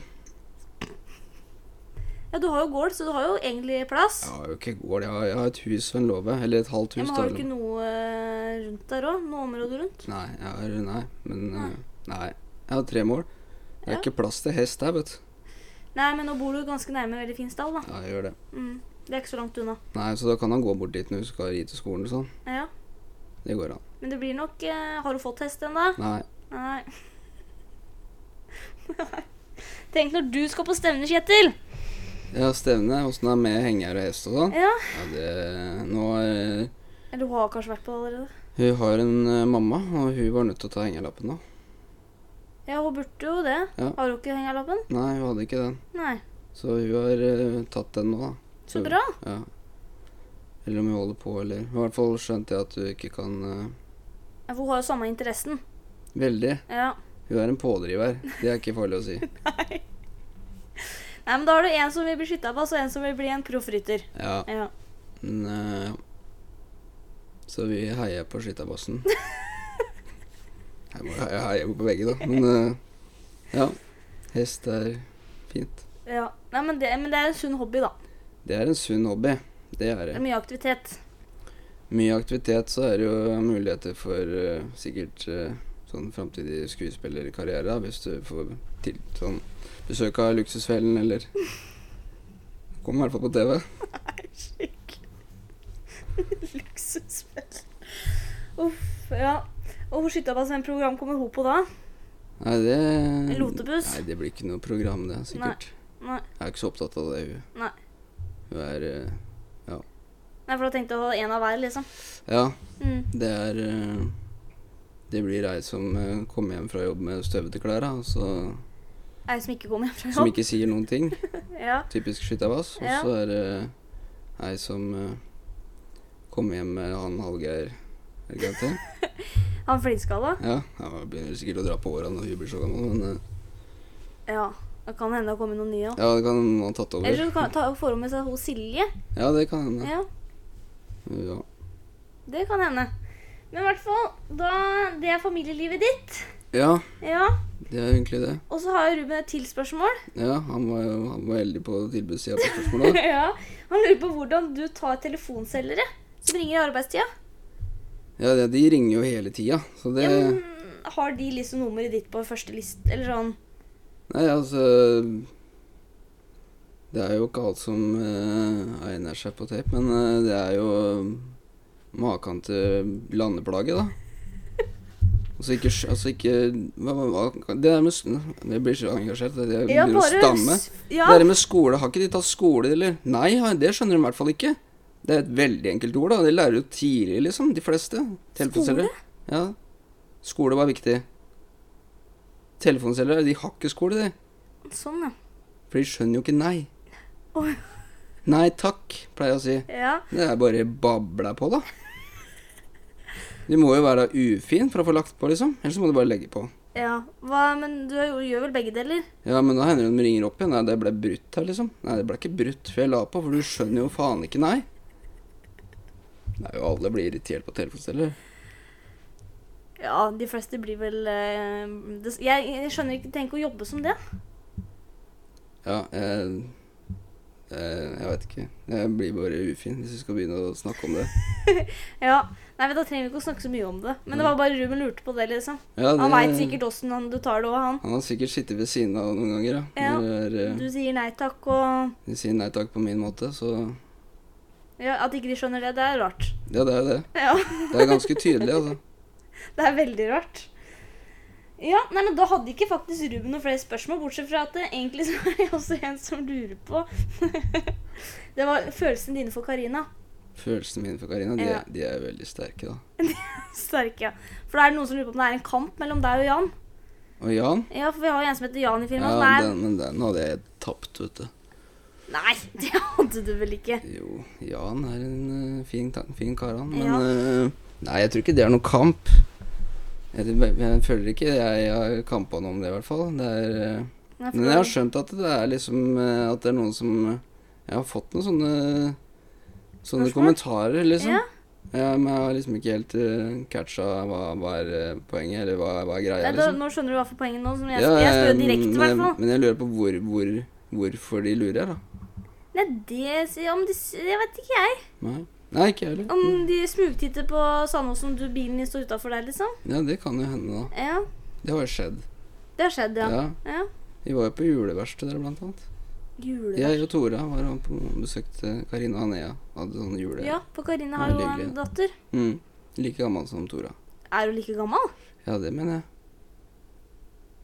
Ja, du har jo gård, så du har jo egentlig plass.
Jeg har jo ikke gård, jeg har, jeg har et hus og en låve. Eller et halvt
Ja,
hus.
men har du
da,
eh,
eller
ikke noe rundt der òg? Noe område rundt?
noe. Nei, jeg har Nei, men
Nei.
eh, Nei. Jeg har tre mål. Det er
Ja.
ikke plass til hest her, vet du.
Nei, men nå bor du ganske nærme veldig fin stall, da.
Ja, jeg gjør det.
Mm. Det er ikke så langt unna.
Nei, så da kan han gå bort dit når hun skal ri til skolen og sånn.
Ja,
Det går an.
Men det blir nok eh, Har du fått hest ennå?
Nei.
Nei. *laughs* Tenk når du skal på stevne, Kjetil!
Ja, stevne. Åssen er det med henger og hest og sånn?
Ja.
Ja, det Nå eh, er
Eller du har kanskje vært på det allerede?
Hun har en eh, mamma, og hun var nødt til å ta hengerlappen da.
Ja, hun burde jo det.
Ja.
Har du ikke hengerlappen?
Nei, hun hadde ikke den.
Nei.
Så hun har eh, tatt den nå, da.
Så bra.
Ja. Eller om hun holder på, eller I hvert fall skjønte jeg at hun ikke kan eh,
Ja, for hun har jo samme interessen.
Veldig.
Ja.
Hun er en pådriver. Det er ikke farlig å si.
Nei, men da har du en som vil bli skytterpass, og en som vil bli en proffrytter.
Ja.
Ja.
Men, eh, så vi heier på skytterbassen. Jeg må- jeg heier jo på begge, da. Men eh, ja. Hest er fint.
ja. Nei, men det, men det er en sunn hobby, da.
Det er en sunn hobby. Det er
Det
det.
er mye aktivitet.
Mye aktivitet, så er det jo muligheter for eh, sikkert eh, sånn framtidig skuespillerkarriere, da, hvis du får til sånn besøk av Luksusfellen, eller Kom i hvert fall på TV.
Skikkelig luksusspill. Uff, ja. Og hvor skytterbassprogram kommer hun på da?
Nei, det
Lotepus?
Nei, det blir ikke noe program, det, sikkert.
Nei.
Jeg er ikke så opptatt av det, hun.
Nei.
Hun er eh,
Nei, for da tenkte jeg å ha en av hver, liksom.
Ja,
Mm.
det er eh, Det blir ei som eh, kommer hjem fra jobb med støvete klær, da, og så,
Ei som ikke kommer hjem fra
som
jobb.
ikke sier noen ting.
Ja.
Typisk skytterbass. Og
Ja.
så er det ei som eh, kommer hjem med han Hallgeir er det ikke han heter?
Han flinskalla?
Ja, han begynner sikkert å dra på åra når hun blir så gammel, men eh,
Ja. Det kan hende det kommer noen nye òg.
ja, det kan hende han har tatt
Eller
over.
så kan- ta- får hun med seg hun Silje.
Ja, det kan hende.
Ja,
Ja.
det kan hende. Men i hvert fall, da, det er familielivet ditt.
ja,
Ja.
det er egentlig det.
Og så har Ruben et til spørsmål.
Ja, han var, jo- han var heldig på tilbudssida på spørsmålet.
*laughs* ja. Han lurer på hvordan du tar telefonselgere som ringer i arbeidstida.
Ja, det, de ringer jo hele tida, så det
Ja, men, har de liksom nummeret ditt på første liste, eller sånn?
Nei, altså Det er jo ikke alt som eh, egner seg på tape, men eh, det er jo maken til landeplage, da. Altså ikke, skj- altså ikke hva, hva, hva, Det der med s- Jeg blir så engasjert. Det, jeg begynner å stamme.
s- Ja,
Det der med skole, har ikke de tatt skole, eller? Nei, ja, det skjønner de i hvert fall ikke. Det er et veldig enkelt ord, da. De lærer jo tidlig, liksom, de fleste. Telefonselgere. Ja. Skole var viktig. Telefonselgere, de har ikke skole, de.
sånn, ja.
For de skjønner jo ikke nei.
Åh.
Nei takk, pleier jeg å si.
ja.
Det er bare babla på, da. Du må jo være ufin for å få lagt på, liksom. Ellers må du bare legge på.
Ja. Hva, men du gjør gjør vel begge deler?
Ja, men da hender det de ringer opp igjen. Nei, det ble brutt her, liksom. Nei, det ble ikke brutt før jeg la på, for du skjønner jo faen ikke nei. Nei, jo alle blir irritert på telefonsteller.
Ja, de fleste blir vel eh, det, jeg, jeg skjønner ikke Tenk å jobbe som det.
Ja, jeg, jeg, jeg vet ikke. Jeg blir bare ufin hvis vi skal begynne å snakke om det.
Ja. Nei, men Da trenger vi ikke å snakke så mye om det. Men det var bare Ruben lurte på det, liksom.
Ja, det
Han veit sikkert åssen han- du tar det òg, han.
Han har sikkert sittet ved siden av noen ganger, ja.
Ja.
Når det er, eh,
Du sier nei takk, og
de sier nei takk på min måte, så
ja, At ikke de skjønner det, det er rart. *laughs*
Ja, det er jo det.
Ja,
Det er ganske tydelig, altså.
Det er veldig rart. Ja, nei, men Da hadde ikke faktisk Ruben noen flere spørsmål, bortsett fra at det egentlig så er det også en som lurer på *laughs* Det var følelsene dine for Karina.
Følelsene mine for Karina, de,
Ja.
er- de er veldig sterke, da.
Sterke, ja. For da er det noen som lurer på om det er en kamp mellom deg og Jan.
Og Jan?
Ja, for vi har jo en som heter Jan i
Ja,
firmaet. som er-
den, men den hadde jeg tapt, vet du.
Nei, *laughs* det hadde du vel ikke.
Jo, Jan er en eh, fin, ta- fin kar, han. Men
Ja.
eh, Nei, jeg tror ikke det er noen kamp. Jeg, jeg føler ikke jeg har kampa noe om det, i hvert fall. Det er, eh,
Nei, for
men
det-
jeg har skjønt at det er liksom eh, At det er noen som eh, Jeg har fått noen sånne Sånne
Spørsmål?
kommentarer, liksom.
Ja.
Ja. men jeg har liksom ikke helt eh, catcha hva, hva er eh, poenget, eller hva, hva er greia,
Nei, da,
liksom.
nå skjønner du hva for poenget nå. Som jeg,
Ja,
jeg spør jo
eh,
direkte, i hvert
men-
fall.
Men jeg lurer på hvor, hvor, hvorfor de lurer, da.
Nei, det sier om de s- Jeg vet ikke, jeg.
Nei, Nei ikke jeg heller.
Um, Om de smugtitter på Sandåsen, du bilen din står utafor der, liksom.
Ja, det kan jo hende, da.
Ja.
Det har jo skjedd.
Det har skjedd,
Ja.
ja. ja.
Vi var jo på juleverksted der, blant annet.
Juleverksted.
Jeg og Tora var og på besøkte Karina og Nea. Hadde sånn jule...
Ja, for Karina har jo
Veldig
en
hyggelig.
datter.
Mm. Like gammel som Tora.
Er hun like gammel?
Ja, det mener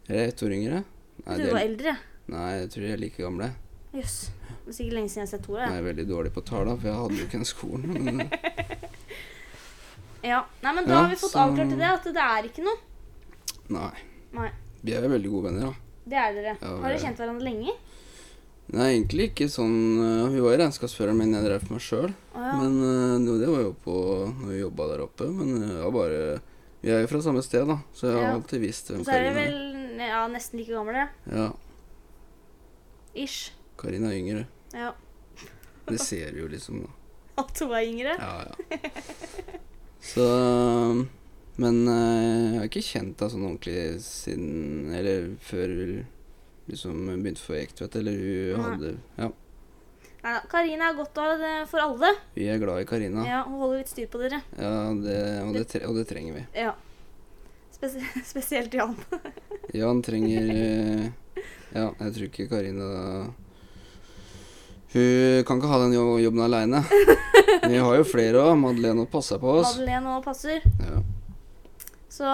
jeg. Er det ett år yngre? Nei,
Du
de er-
var eldre.
nei, jeg tror de er like gamle.
Jøss. Det er sikkert lenge siden jeg har sett Tora.
Jeg er veldig dårlig på tall, da, for jeg hadde jo ikke den skolen. Men eh,
jeg. Ja. Nei, men da
Ja,
har vi fått
så-
avklart til det at det er ikke noe.
nei.
Nei.
Vi er jo veldig gode venner, da.
Det er dere.
Ja,
har
vi
dere
er-
kjent hverandre lenge?
Nei, egentlig ikke sånn øh, Vi var jo regnskapsfører, men jeg drev for meg sjøl.
Å ja.
Men øh, jo, det var jo på når vi jobba der oppe. Men øh, jeg var bare Vi er jo fra samme sted, da, så jeg har
Ja.
alltid visst hvem
Så er dere
Karina er.
vel ja, nesten like gamle?
Ja,
Ish.
Karina er yngre.
Ja. *laughs*
Det ser vi jo liksom, da.
At hun er yngre? *laughs*
Ja, ja. Så Men eh, jeg har ikke kjent deg sånn ordentlig siden Eller før hun liksom begynte å få ektevett, eller hun
Nei.
hadde Ja.
Nei da. Karina er godt av det for alle.
Vi er glad i Karina. Ja,
Ja, Hun holder litt styr på dere.
det, og, det tre, og det trenger vi.
Ja. Spes *laughs* spesielt Jan.
Jan trenger eh, Ja, jeg tror ikke Karina Hun kan ikke ha den jo- jobben aleine. Vi har jo flere òg. Madeleine passer på oss.
Madeleine og passer.
Ja.
Så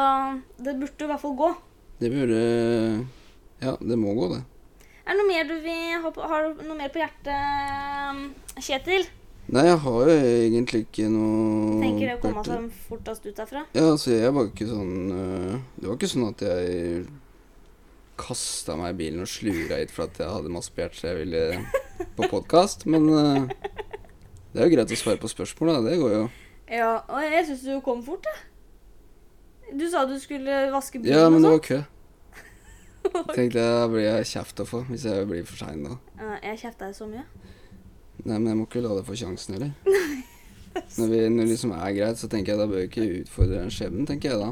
det burde i hvert fall gå.
Det burde Ja, det må gå, det.
Er det noe mer du vil ha på, har du noe mer på hjertet, um, Kjetil?
Nei, jeg har jo egentlig ikke noe
Tenker det å komme
Bertil.
seg fortest ut derfra?
Ja, altså, jeg var ikke sånn øh, Det var ikke sånn at jeg kasta meg i bilen og slura hit for at jeg hadde masse på hjertet så jeg ville på podkast, men øh, det er jo greit å svare på spørsmål, da. Det går jo.
Ja, og jeg syns du kom fort, jeg. Du sa du skulle vaske bilen
Ja, men det
og sånn.
var kø. Tenkte jeg blir jeg kjeft å få hvis jeg blir for sein da.
sånn. Ja, Jeg kjefta deg så mye.
Nei, men jeg må ikke la det få sjansen heller. Når, vi, når det liksom er greit, så tenker jeg da bør jeg ikke utfordre den skjebnen, tenker jeg da.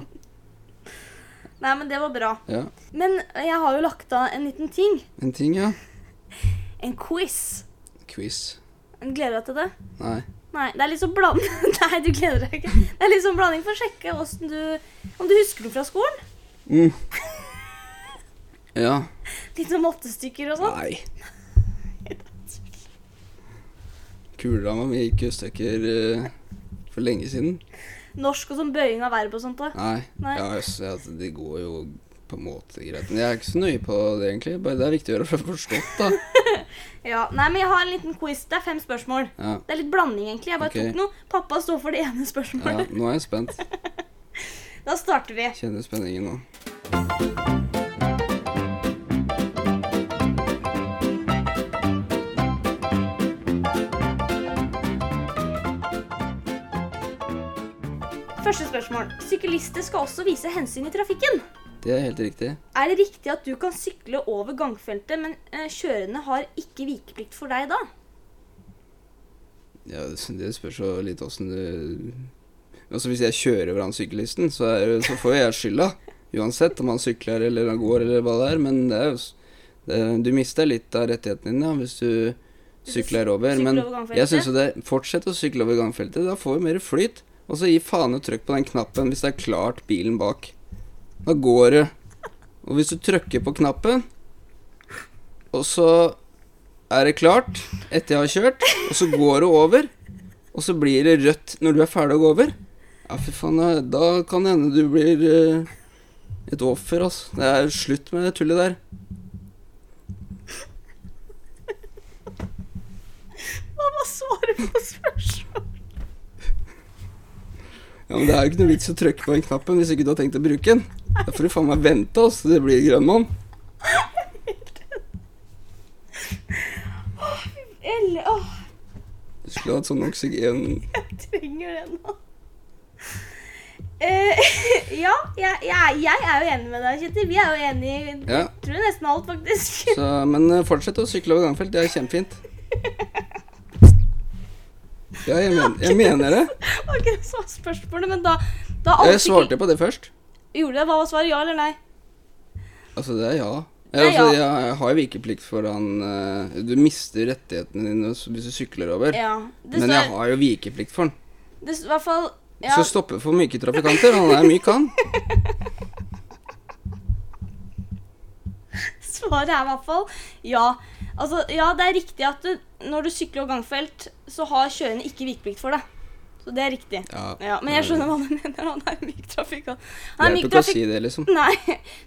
Nei, men det var bra.
Ja.
Men jeg har jo lagt av en liten ting.
En ting, ja.
En quiz.
Quiz.
Gleder du deg til det?
Nei.
Nei, det er litt sånn blanding *laughs* Nei, du gleder deg ikke. Det er litt sånn blanding for å sjekke hvordan du om du husker noe fra skolen.
Mm. Ja.
Litt sånn mattestykker og sånn.
Nei.
*laughs*
Kuledama mi gikk jo i stykker eh, for lenge siden.
Norsk og sånn bøying av verb og sånt òg.
Nei.
Nei.
Ja, jøss, ja, altså, det går jo på en måte greit. Men jeg er ikke så nøye på det, egentlig. Bare det er viktig å gjøre for forstått, da.
Ja, nei, men jeg har en liten quiz. Det er fem spørsmål.
Ja.
Det er litt blanding, egentlig. Jeg bare
Ok.
tok noe. Pappa står for det ene
ja,
spørsmålet.
nå er jeg spent.
Da starter vi.
Kjenner spenningen nå.
Første spørsmål. Syklister skal også vise hensyn i trafikken.
Det er helt riktig.
Er det riktig at du kan sykle over gangfeltet, men eh, kjørende har ikke vikeplikt for deg da?
Ja, det- det spørs jo litt åssen du Altså, Hvis jeg kjører over han syklisten, så, er, jo- så får jo jeg skylda. Uansett om han sykler eller han går eller hva det er. Men det er jo s- det, er- Du mister litt av rettigheten din da, hvis du
Hvis du
sykler over.
sykler
Men
over gangfeltet?
jeg syns jo det Fortsett å sykle over gangfeltet. Da får vi mer flyt. Og så gi faen og trykk på den knappen hvis det er klart bilen bak. Da går det. Og hvis du trykker på knappen, og så er det klart etter jeg har kjørt, og så går det over, og så blir det rødt når du er ferdig å gå over. Ja, fy faen, da- da kan det hende du blir eh, et offer, altså. Det er slutt med det tullet der.
Hva var svaret på spørsmålet?
Ja, men Det er jo ikke noe vits å trykke på den knappen hvis ikke du har tenkt å bruke den. Da får du faen meg vente, altså. Det blir grønn mann.
Eller, åh,
Du skulle hatt sånn oksygen...
jeg trenger det nå. Eh, *laughs* ja, jeg, jeg, jeg er jo enig med deg, Kjetil. Vi er jo enige i
Ja,
tror jeg nesten alt, faktisk. *laughs*
så, men eh, fortsett å sykle over gangfelt. Det er kjempefint. Ja, jeg, men, jeg mener det.
Var ikke det som var spørsmålet, men da, da alt
Jeg svarte på det først.
Gjorde det? Hva var svaret? Ja eller nei?
Altså, det er ja.
Det er
Jeg, altså,
ja.
jeg, jeg har jo vikeplikt foran eh, Du mister rettighetene dine s- hvis du sykler over.
Ja. Det
men jeg
står
har jo vikeplikt for den.
det s- i hvert fall ja.
Så stoppe for myke trafikanter. Han er myk, han.
*laughs* Svaret er i hvert fall ja. Altså, ja, det er riktig at du, når du sykler over gangfelt, så har kjørende ikke vikeplikt for deg. Så det er riktig.
Ja,
Ja, men jeg skjønner hva du mener. Han er myk trafikant. Han er
Jeg
myk
ikke å
trafikant.
si Eh. det, liksom.
Nei,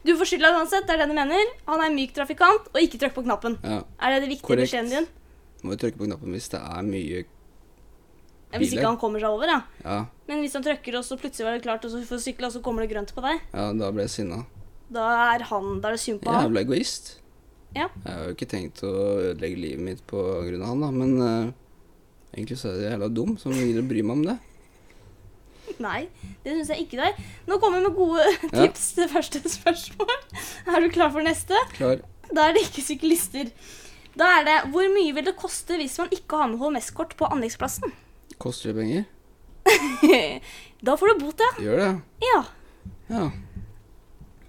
du får skylda uansett. Det er det du mener. Han er myk trafikant, og ikke trykk på knappen.
Ja,
Er det det viktige
Korrekt.
beskjeden din?
Må jo trykke på knappen hvis det er mye
Ja, Hvis
Biler.
ikke han kommer seg over, ja.
Ja,
Men hvis han trykker, og så plutselig var det klart, og så får du sykle, og så kommer det grønt på deg,
ja da ble jeg sinna.
da er han Da er det synd på han.
Jævla egoist.
Ja.
Jeg har jo ikke tenkt å ødelegge livet mitt på grunn av han, da, men eh, egentlig så er jeg jævla dum som gidder å bry meg om det.
Nei, det syns jeg ikke det er. Nå kommer vi med gode
Ja.
*laughs* tips til første spørsmål. Er du klar for neste?
Klar.
Da er det ikke syklister. Da er det hvor mye vil det koste hvis man ikke har med HMS-kort på anleggsplassen? *laughs*
Koster det penger?
da får du bot, ja.
Gjør det.
Ja.
Ja.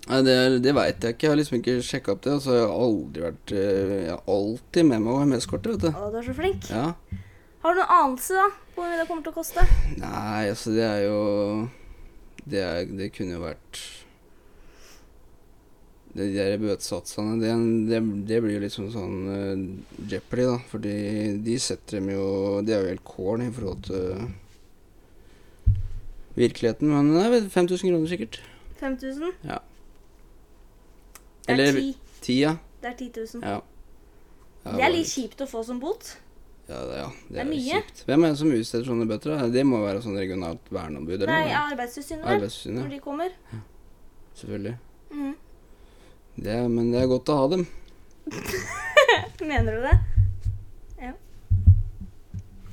Nei, det det veit jeg ikke. Jeg har liksom ikke sjekka opp det. Altså, jeg har aldri vært eh, Jeg har alltid med meg HMS-kortet, vet du.
Å, du er så flink.
Ja.
Har du noen anelse da, på hvor mye det kommer til å koste?
Nei, altså, det er jo Det, er, det kunne jo vært De der bøtesatsene, det, det, det blir jo liksom sånn eh, Jeopardy, da. Fordi de setter dem jo De er jo helt corn i forhold til virkeligheten. Men det er vel 5000 kroner, sikkert.
5000?
Ja.
Det er,
Eller-
10.
Ti, ja.
Det er 10 000.
Ja. Ja,
Det er
bare-
litt kjipt å få som bot.
Ja, det, ja. det
Det er
er jo
mye.
kjipt. Hvem er det som utsteder sånne bøter? da? Det må være sånn regionalt verneombud eller
Nei,
noe?
Arbeidstilsynet, vel. Når
Arbeidstilsynet,
de kommer.
ja. selvfølgelig.
Mhm.
Det, er- men det er godt å ha dem.
Mener du det? Ja.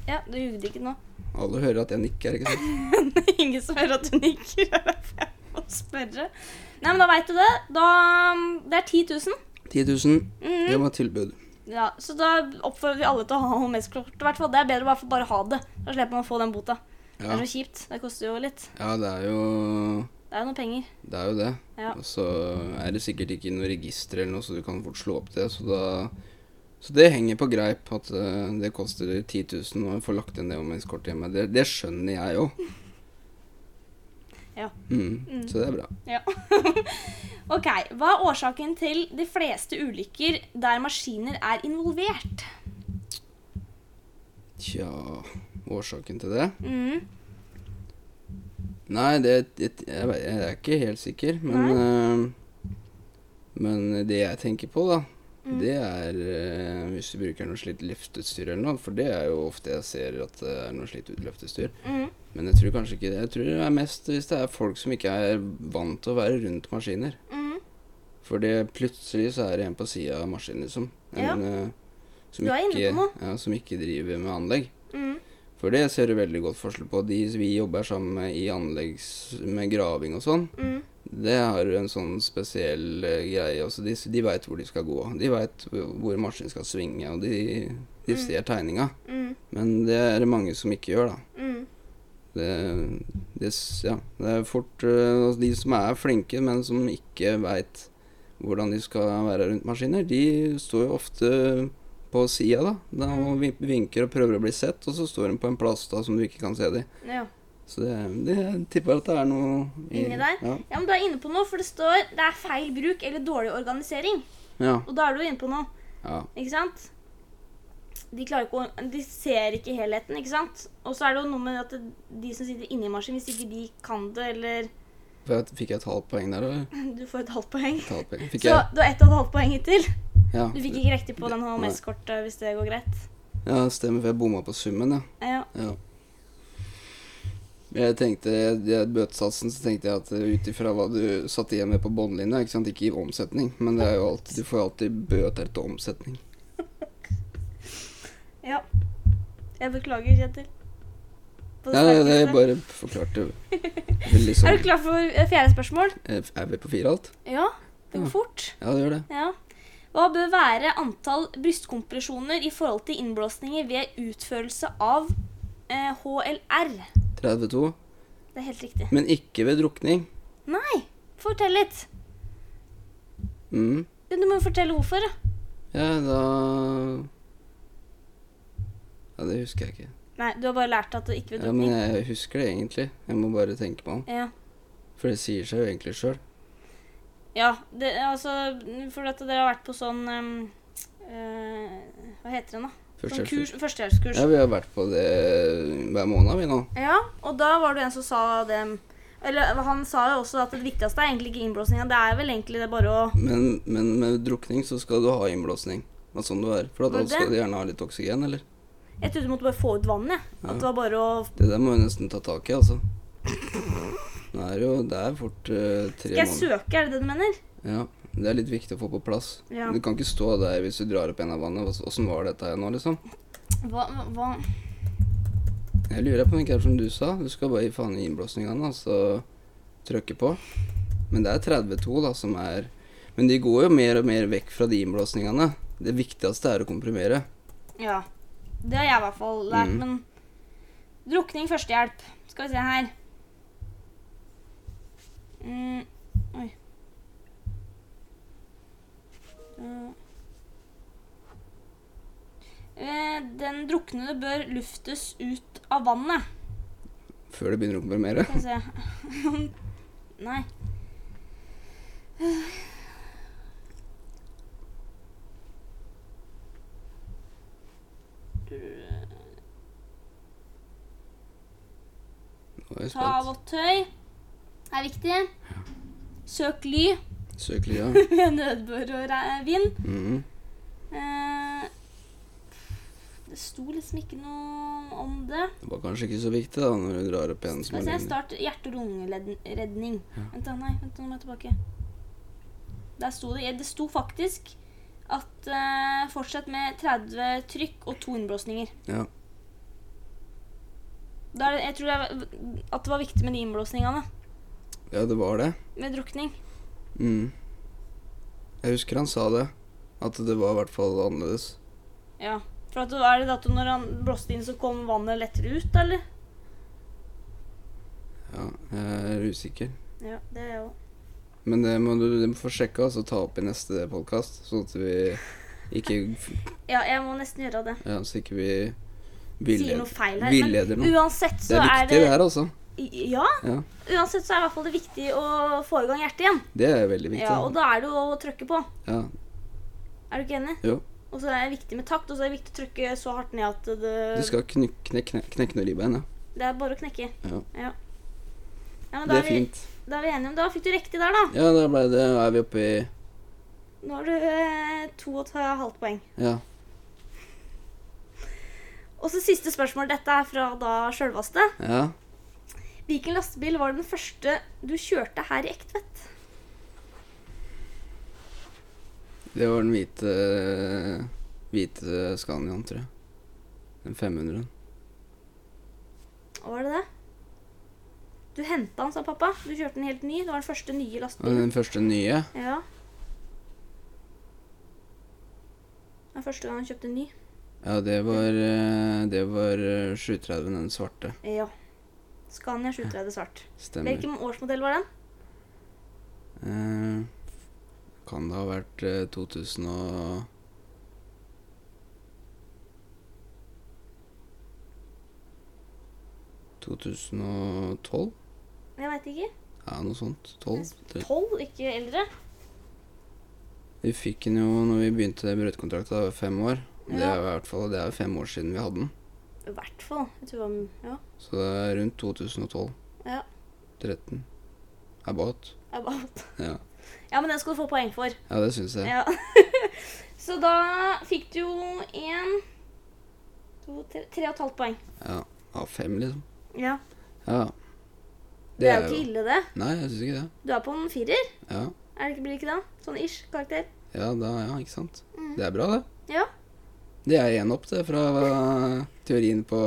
Ja, du jugde ikke nå. *laughs*
Alle hører at jeg nikker, ikke sant?
Ingen som hører at du nikker. Det er derfor jeg må spørre. Nei, men da veit du det. Da, um, det er 10 000.
10 000,
Mhm.
det var tilbud.
Ja, så da oppfordrer vi alle til å ha HMS-kort. i hvert fall. Det er bedre å bare få- bare ha det. Da slipper man å få den bota. Det
Ja.
er så kjipt. Det koster jo litt.
ja, det er jo
Det er jo noe penger.
det. Er jo det.
Ja.
Og så er det sikkert ikke noe register eller noe, så du kan fort slå opp det. Så, da, så det henger på greip at eh, det koster 10 000 å få lagt inn det omgangskortet hjemme. Det, det skjønner jeg òg.
Ja.
Mm, så det er bra.
*laughs* Ok, Hva er årsaken til de fleste ulykker der maskiner er involvert?
Tja, årsaken til det?
Mm.
Nei, det, det jeg, vet- jeg er ikke helt sikker, men eh, Men det jeg tenker på, da,
Mm.
det er eh, hvis du bruker noe slitt løfteutstyr eller noe, for det er jo ofte jeg ser at det er noe slitt løfteutstyr.
Mm.
Men jeg tror kanskje ikke det. Jeg tror det er mest hvis det er folk som ikke er vant til å være rundt maskiner.
Mm.
For det plutselig så er det en på sida av maskinen, liksom.
Ja.
eh, som
Du er inne
ikke-
på noe.
Ja, som ikke driver med anlegg.
Mm.
For det ser du veldig godt forskjell på. De vi jobber sammen med i anleggs... med graving og sånn,
Mm.
det har en sånn spesiell eh, greie. Altså, de de veit hvor de skal gå. De veit hvor maskinen skal svinge, og de, de ser tegninga.
Mm.
Men det er det mange som ikke gjør, da.
Mm.
Det, det, s- ja, det er fort eh, altså, De som er flinke, men som ikke veit hvordan de skal være rundt maskiner, de står jo ofte på sida, da. da.
Mm.
Og vi- vinker og prøver å bli sett, og så står de på en plass da som du ikke kan se dem.
Ja.
Så det, det jeg tipper at det er noe i-
Inni der?
Ja.
ja, men Du er inne på noe, for det står det er feil bruk eller dårlig organisering.
Ja.
Og da er du jo inne på noe,
ja.
ikke sant? De, klarer ikke å, de ser ikke helheten, ikke sant? Og så er det jo noe med at det, de som sitter inni maskinen, hvis ikke de kan det, eller *laughs*
Får jeg- Fikk jeg et halvt poeng der, eller?
Du får et halvt poeng.
Et halvt poeng. Fikk
Så
jeg?
du har ett og et halvt poeng hittil.
Ja.
Du fikk ikke riktig på den
Nei.
HMS-kortet, hvis det går greit.
ja, stemmer, for jeg bomma på summen, ja.
Ja.
ja. Jeg tenkte, jeg, Bøtesatsen så tenkte jeg at eh, ut ifra hva du satt igjen med på båndlinja, ikke sant, ikke i omsetning, men det er jo alltid, du får jo alltid bøter etter omsetning.
Ja. Jeg beklager, Kjetil. På det
Ja, det, det
sterkeste.
er bare forklarte
*laughs*
veldig sånn.
Er du klar for eh, fjerde spørsmål?
Eh, Er vi på fire alt?
Ja. Det går
Ja.
fort.
Ja, det gjør det.
Ja. Hva bør være antall brystkompresjoner i forhold til innblåsninger ved utførelse av eh, HLR?
32.
Det er helt riktig.
Men ikke ved drukning.
Nei, fortell litt.
Mm.
Du må jo fortelle hvorfor. da.
Ja, da Ja, det husker jeg ikke.
Nei, du har bare lært at det ikke vil
Ja, men
drukning.
jeg husker det egentlig. Jeg må bare tenke på den.
Ja.
For det sier seg jo egentlig sjøl.
Ja, det, altså For at dere har vært på sånn ehm, eh, Hva heter den, da? Sånn
Førstehjelpskurs.
kurs, førstehjelpskurs.
Ja, vi har vært på det hver måned, vi nå.
Ja, og da var det jo en som sa det Eller han sa jo også at det viktigste er egentlig ikke innblåsninga. Det er vel egentlig det bare å
Men, men med drukning så skal du ha innblåsning. Det er sånn du er. For at
Var
da
det?
skal de gjerne ha litt oksygen, eller?
Jeg trodde du måtte bare få ut vannet, jeg. At
Ja.
det var bare å
Det der må vi nesten ta tak i, altså. Det er jo Det er fort eh,
Skal
tre
jeg
måneder.
søke, er det det du mener?
Ja, det er litt viktig å få på plass.
Ja.
Du kan ikke stå der hvis du drar opp en av vannet. Ås- Åssen var dette her nå, liksom?
Hva, hva
Jeg lurer på om det ikke er som du sa. Du skal bare gi faen i innblåsningene, altså. Trykke på. Men det er 32, da, som er Men de går jo mer og mer vekk fra de innblåsningene. Det viktigste er å komprimere.
Ja. Det har jeg i hvert fall lært,
Mm.
men Drukning, førstehjelp. Skal vi se her. Mm. Oi. Eh. Eh, Den druknede bør luftes ut av vannet.
Før du begynner å komprimere.
Skal vi se *laughs* Nei.
Nå er jeg
Ta av
spent.
vått tøy. Er viktig. Søk ly *laughs*
Søk lya.
med nødbør og re- vind.
Mhm.
Eh, det sto liksom ikke noe om det.
Det var kanskje ikke så viktig da, når du drar opp en som
Skal vi
er
se,
lenge.
start hjerte- og lungeredning. Vent da, nei, vent da, nå må jeg tilbake. Der sto det, det sto faktisk at eh, fortsett med 30 trykk og to innblåsninger.
Ja.
Da er det- jeg tror det er, at det var viktig med de innblåsningene
ja, det var det.
med drukning.
Mm. Jeg husker han sa det. At det var i hvert fall annerledes.
Ja, for at, er det da at når han blåste inn, så kom vannet lettere ut, eller?
Ja, jeg er usikker.
Ja, det er jo.
Men det må du, du får sjekke altså, ta opp i neste podkast, sånn at vi ikke,
Ja, jeg må nesten gjøre det.
ja, så ikke vi
Sier noe
villeder,
feil her.
villeder
Men
noe.
uansett
Det
så
er
er,
viktig det her, altså.
det Ja,
Ja,
uansett så er det i hvert fall det viktig å få i gang hjertet igjen.
det er veldig viktig.
Ja, og da er det jo å trykke på.
Ja,
Er du ikke enig?
Jo.
Og så er det viktig med takt, og så er det viktig å trykke så hardt ned at det
du skal knekke knek, knek, knekke noen ribbein, ja.
Det er bare å knekke.
Ja.
ja. Ja, men da er,
Det er
vi,
fint.
da er vi enige om Da fikk du riktig der, da.
Ja, da ble det, er vi oppe i
Nå har du eh, to og et halvt poeng.
Ja.
Og så siste spørsmål. Dette er fra da sjølvaste.
ja.
Hvilken lastebil var den første du kjørte her i Ektvedt?
Det var den hvite Hvite Scaniaen, tror jeg. Den 500-en.
Var det det? Du henta den, sa pappa. Du kjørte den helt ny. Det var den første nye
Og
lastebilen.
Den første nye.
Ja. Det var første gang han kjøpte en ny.
Ja, det var eh, Det var eh, 730, den svarte.
Ja. Scania 730 svart.
Stemmer.
Hvilken årsmodell var den?
Eh, kan det ha vært eh, 2000 og ...2012?
Jeg veit ikke.
Ja, noe sånt. 12? tre-
12, ikke eldre.
Vi fikk den jo når vi begynte brøytekontrakten, da var jeg fem år. Det
Ja.
er i hvert fall det er fem år siden vi hadde den.
I hvert fall. Jeg tror det var Ja.
Så det er rundt 2012.
Ja.
13. About.
About.
Ja,
Ja, men den skal du få poeng for.
ja det syns jeg.
Ja. *laughs* Så da fikk du jo én, to, tre, tre og et halvt poeng.
Ja. Av fem, liksom.
Ja.
Ja.
Det er jo ikke ille, det.
Nei, jeg syns ikke det.
Du er på en firer.
Ja.
Er det ikke, blir det ikke det? Sånn ish karakter.
ja, da, ja, ikke sant.
Mm.
Det er bra, det.
Ja.
Det er én opp, det, fra eh, teorien på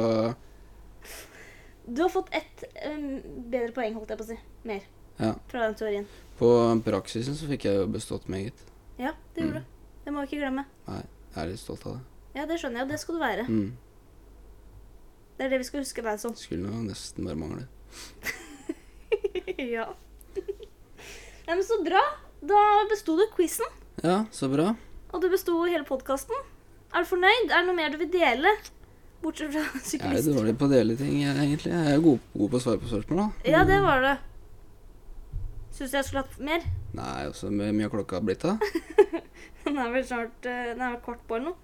Du har fått ett em, bedre poeng, holdt jeg på å si. Mer.
Ja.
Fra den teorien.
På praksisen så fikk jeg jo bestått meget.
Ja, det gjorde du. Det må vi ikke glemme.
Jeg er litt stolt av det.
Ja, det skjønner jeg, og det skal du være.
Mm.
Det er det vi skal huske deg som. *laughs*
Skulle nå nesten bare mangle.
ja. Nei, men så bra. Da besto du quizen,
Ja, så bra.
og du besto hele podkasten. Er du fornøyd? Er det noe mer du vil dele? Bortsett fra *laughs*
Jeg er
syklister.
dårlig på å dele ting, jeg, egentlig. Jeg er god, god på å svare på spørsmål, da.
Ja, det var det. Syns du jeg skulle hatt mer?
Nei, altså, hvor mye har klokka blitt, da?
Den er vel snart eh, Den er vel kvart på eller noe.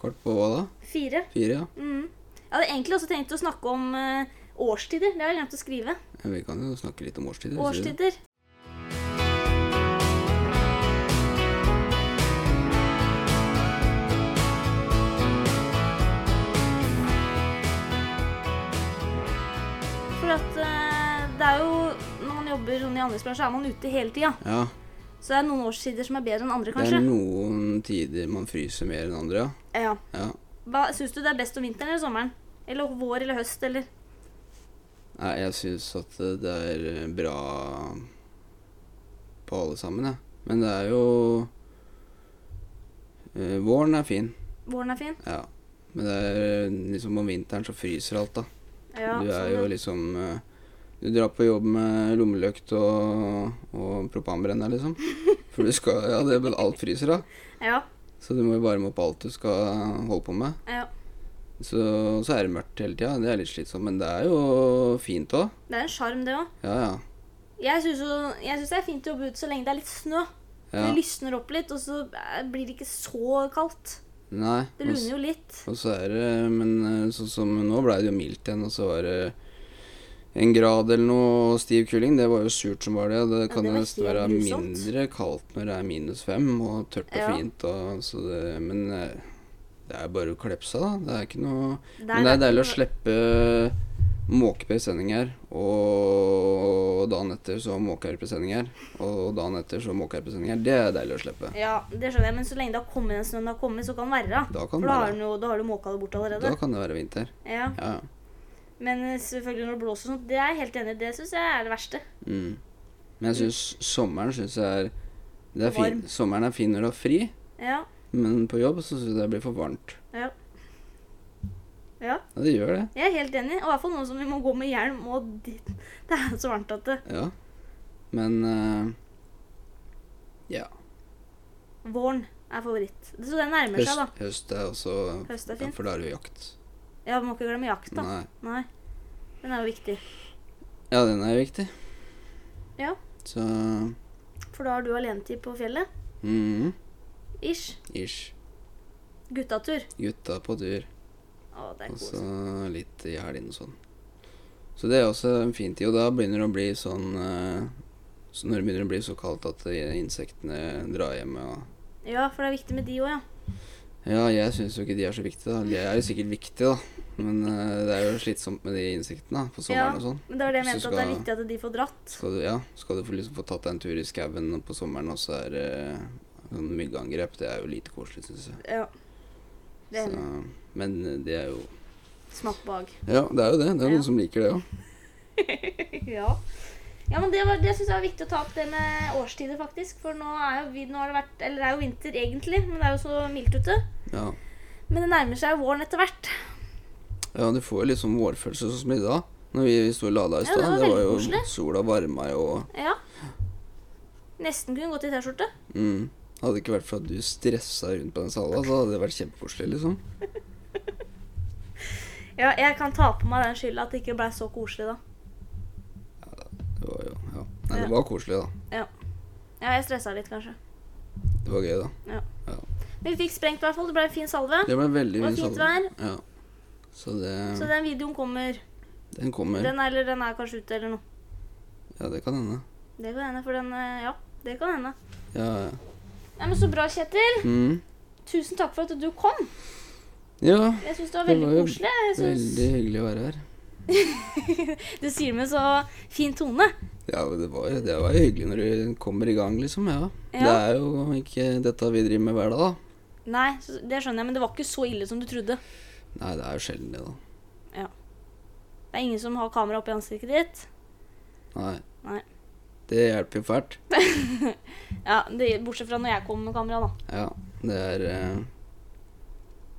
Kort på hva da?
Fire.
Fire, ja?
Mm. Jeg hadde egentlig også tenkt å snakke om eh, årstider. Det har jeg glemt å skrive.
Ja, Vi kan jo snakke litt om årstider. hvis du-
Årstider. For at eh, det er jo Når man jobber sånn i anleggsbransje, er man ute hele tida.
Ja.
Så det er noen årstider som er bedre enn andre,
Det er
kanskje.
noen tider man fryser mer enn andre, ja.
Ja.
ja.
Hva Syns du det er best om vinteren eller sommeren? Eller vår eller høst, eller
Nei, jeg syns at eh, det er bra på alle sammen, jeg. Men det er jo eh, Våren er fin,
våren er fin?
ja. Men det er liksom om vinteren så fryser alt, da.
Ja,
du er
sånn,
jo
ja.
liksom eh, Du drar på jobb med lommeløkt og, og propanbrenner,
*laughs*
liksom. For du skal Ja, det er vel alt fryser, da.
ja,
Så du må jo varme opp alt du skal holde på med.
ja.
Så, så er det mørkt hele tida. Det er litt slitsomt, men det er jo fint òg.
Det er en sjarm, det òg.
Ja, ja.
Jeg syns det er fint å jobbe ute så lenge det er litt snø.
ja.
Det lysner opp litt, og så eh, blir det ikke så kaldt.
Nei.
Det
og s-
luner jo litt.
Og så er det Men eh, sånn som nå blei det jo mildt igjen, og så var det en grad eller noe og stiv kuling. Det var jo surt som var det. og Det kan
det
jo
var
nesten
helt
være
grusomt.
mindre kaldt når det er minus fem og tørt og
Ja.
fint. Og, så det, men eh, det er bare å klepse, da. Det er ikke noe
Det
Men det er deilig å slippe måkeper i sending her, og dagen etter så måkeharpe i sending her, og dagen etter så måkeharpe i sending her. Det er deilig å slippe.
Ja, det skjønner jeg, men så lenge det har kommet den snøen det har kommet, så kan det være.
Da kan
For
det
da har,
være,
den jo, da har du måka det bort allerede.
da kan det være vinter.
Ja.
Ja, ja.
Men eh, selvfølgelig når det blåser sånn, det er jeg helt enig i. Det syns jeg er det verste.
Mm. Men jeg syns sommeren synes jeg er det er fin.
Varm.
Sommeren er fin når du har fri,
Ja.
men på jobb så syns jeg det blir for varmt.
Ja. Ja,
Ja, det gjør det.
jeg er helt enig. Og i hvert fall nå som vi må gå med hjelm og dit. *laughs* Det er så varmt at det
Ja. Men eh, ja.
Våren er favoritt. Så det nærmer seg, da.
Høst, høst er også
Høst er
ja,
fint.
For da er det jo jakt.
Ja, vi må ikke glemme jakt, da.
Nei.
Nei. Den er jo viktig.
Ja, den er viktig.
Ja.
Så
For da har du alenetid på fjellet.
mm,
Ish.
Ish.
Guttatur.
Gutta på tur,
Å, det er
og så
kos.
litt i helgen og sånn. Så det er også en fin tid, og da begynner det å bli sånn eh, så Når det begynner å bli så kaldt at eh, insektene drar hjem og
Ja, for det er viktig med de òg, ja.
Ja, jeg syns jo ikke de er så viktige, da. De er jo sikkert viktige, da. Men eh, det er jo slitsomt med de insektene da, på sommeren
Ja.
og sånn.
Men det var det jeg mente, at det
Så
er
skal-
viktig at de får dratt.
Skal du, ja, skal du få, liksom, få tatt deg en tur i skauen på sommeren, og så er det sånn myggangrep. Det er jo lite koselig, syns jeg.
Ja. Det er
Så, men det er jo
smak bak.
Ja, det er jo det. Det er
Ja.
noen som liker det òg.
ja. Ja, men Det, var- det syns jeg var viktig å ta opp det med årstider, faktisk. For nå er jo, vi, nå har det vært Eller det er jo vinter, egentlig, men det er jo så mildt ute.
Ja.
Men det nærmer seg jo våren etter hvert.
Ja, du får jo litt sånn vårfølelse sånn som i dag. Når vi sto og lada i
Ja,
stad.
det var
det var
veldig
jo
koselig.
Sola varma jo og
Ja. Nesten kunne gått i T-skjorte.
mm. Hadde det ikke vært for at du stressa rundt på den sala, så hadde det vært kjempekoselig, liksom.
Ja, jeg kan ta på meg den skylda at det ikke blei så koselig, da.
Det var jo Ja. Nei,
Ja.
det var koselig, da.
Ja, jeg stressa litt, kanskje.
Det var gøy, da.
Men vi fikk sprengt i hvert fall. Det ble en fin salve.
Det ble veldig
Det var
fin
fint
salve. Ja. Så det
Så den videoen kommer.
Den kommer.
Den er, eller den er kanskje ute eller noe.
Ja, det kan hende.
Det kan hende, for den eh, Ja, det kan hende.
Ja, ja.
Nei, men Så bra, Kjetil.
Mm.
Tusen takk for at du kom.
Ja,
Jeg syns det var
Det
veldig
var jo
koselig. Jeg
veldig
synes...
hyggelig å være her.
Du sier det med så fin tone.
Ja, men det var, jo- det var jo hyggelig når du kommer i gang, liksom. Ja. Det
Ja.
er jo ikke dette vi driver med hver dag, da.
Nei, så- det skjønner jeg, men det var ikke så ille som du trodde.
Nei, det er jo sjelden det, da.
Det er ingen som har kamera oppi ansiktet ditt.
Nei.
Nei.
Det hjelper jo fælt.
Ja, det, Bortsett fra når jeg kommer med kamera, da.
Ja, det er eh,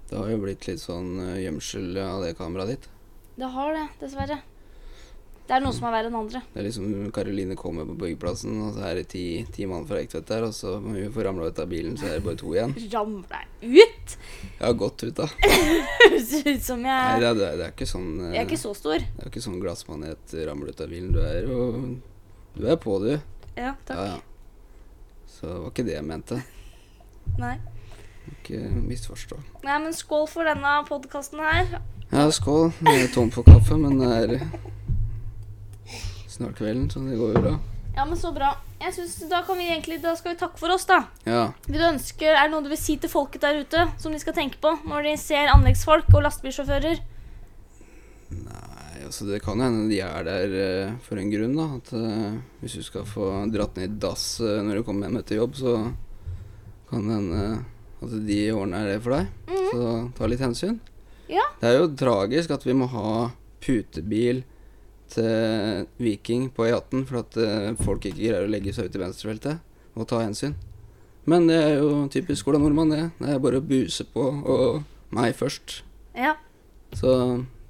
Det har jo blitt litt sånn eh, gjemsel av det kameraet ditt.
Det har det, dessverre. Det er noen som er verre enn andre.
Det er liksom Karoline kommer på byggeplassen, og så er det ti, ti mann fra Ektvedt der, og så må hun få ramla ut av bilen, så er det bare to igjen.
Ramler jeg ut?
Jeg har gått ut, da.
Høres ut som jeg
Nei, det er, det er- det er ikke sånn eh,
Jeg er ikke så stor.
Det er jo ikke sånn glassmanet ramler ut av bilen. Du er jo Du er på, du.
Ja, takk.
Ja, ja. Så det var ikke det jeg mente.
Nei.
Ikke misforstå.
Nei, men skål for denne podkasten her.
Ja, skål. Jeg er tom for kaffe, men det er snart kvelden, så det går jo bra.
Ja, men så bra. Jeg synes, da, kan vi egentlig, da skal vi takke for oss, da.
Ja.
Vil du ønske, Er det noe du vil si til folket der ute som de skal tenke på når de ser anleggsfolk og lastebilsjåfører?
Nei, altså det kan hende de er der eh, for en grunn, da. At eh, hvis du skal få dratt ned i dass eh, når du kommer hjem etter jobb, så kan det hende eh, at de ordner det for deg. Så ta litt hensyn.
Ja.
Det er jo tragisk at vi må ha putebil til Viking på E18 for at eh, folk ikke greier å legge seg ut i venstrefeltet og ta hensyn. Men det er jo typisk Ola Nordmann, det. Det er bare å buse på, og meg først.
Ja,
Så,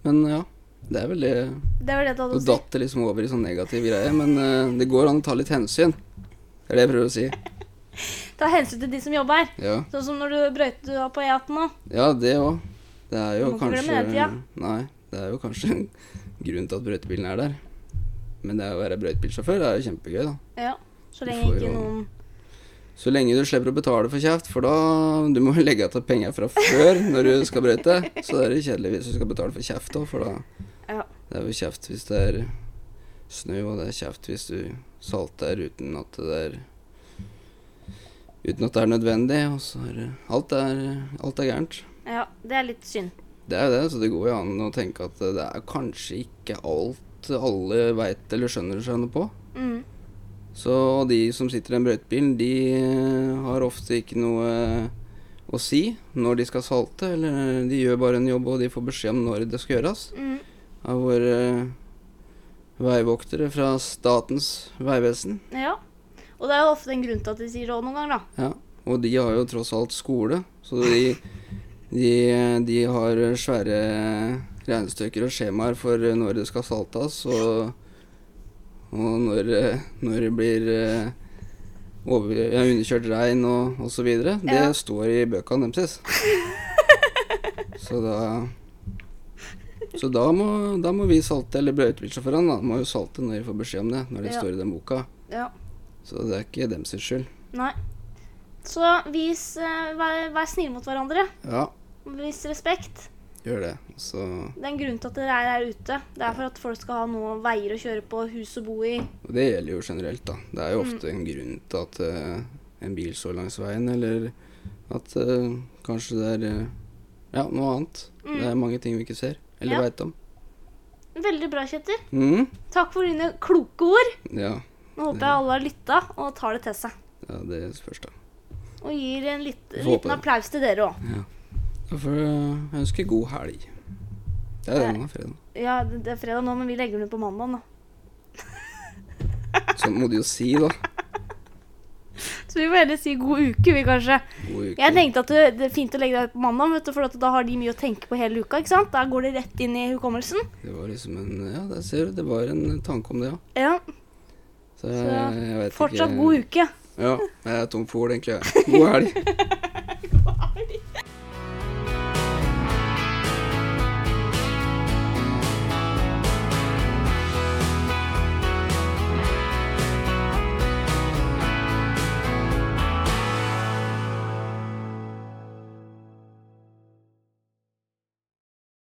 men ja. Det er vel det
det var det du hadde
Nå
å si.
datt det liksom over i sånn negativ greie, men eh, det går an å ta litt hensyn. Det er det jeg prøver å si.
Ta hensyn til de som jobber her.
Ja,
Sånn som når du brøyta på E18 nå.
ja det òg. Det er jo
Du må ikke glemme
kanskje
det, Tia.
Nei, det er jo kanskje en *laughs* grunn til at brøytebilen er der. Men det å være brøytebilsjåfør er jo kjempegøy, da.
Ja, så
Du
lenge
får
ikke
jo-
noen
Så lenge du slipper å betale for kjeft, for da Du må *laughs* jo legge til penger fra før når du skal brøyte. Så er det kjedelig hvis du skal betale for kjeft òg, for da
Ja.
Det er jo kjeft hvis det er snø, og det er kjeft hvis du salter uten at det er Uten at det er nødvendig. Og så er det Alt er, alt er gærent.
ja, det er litt synd.
Det er jo det, så det går jo an å tenke at det er kanskje ikke alt alle veit eller skjønner seg noe på.
Mm.
Så og de som sitter i den brøytebilen, de eh, har ofte ikke noe eh, å si når de skal salte, eller eh, de gjør bare en jobb og de får beskjed om når det skal gjøres
Mm.
av våre eh, veivoktere fra Statens vegvesen.
Ja. Og det er jo ofte en grunn til at de sier råd noen ganger, da.
Ja. Og de har jo tross alt skole, så de, de, de har svære regnestykker og skjemaer for når det skal saltes, og, og når, eh, når det blir eh, over, ja, underkjørt regn og, og så videre. Det
Ja.
står i bøkene
*laughs*
deres. Så da så da må, da må vi salte, eller brøytebilsjåførene da, må jo salte når de får beskjed om det, når det
Ja.
står i den boka.
Ja.
Så det er ikke dem sin skyld.
Nei. Så vis eh, Vær, vær snille mot hverandre.
Ja,
Vis respekt.
gjør det. Så
Det er en grunn til at dere er her ute. Det er for at folk skal ha noe veier å kjøre på, hus å bo i.
Og det gjelder jo generelt, da. Det er jo
Mm.
ofte en grunn til at eh, en bil står langs veien, eller at eh, kanskje det er eh, ja, noe annet.
Mm.
Det er mange ting vi ikke ser, eller
Ja.
vet veit om.
Veldig bra, Kjetil.
Mhm.
Takk for dine kloke ord.
Ja.
Nå håper jeg alle har lytta og tar det til seg.
ja, det spørs, da.
Og gir en litt,
Får håpe
liten
det.
applaus til dere òg.
Da får jeg ønske god helg. Det er denne fredagen.
Ja, det det er fredag nå, men vi legger den ut på mandag.
Sånn må de jo si, da.
Så vi må heller si god uke, vi, kanskje.
God uke.
Jeg tenkte at det- det er fint å legge deg ut på mandag, vet du, for at da har de mye å tenke på hele uka. ikke sant? Da går det rett inn i hukommelsen.
Det var liksom en Ja, der ser du. Det var en tanke om det, ja.
Ja,
Så jeg, jeg vet
Fortsatt
ikke
god uke.
Ja. Jeg er tom for ord, egentlig. jeg. God helg.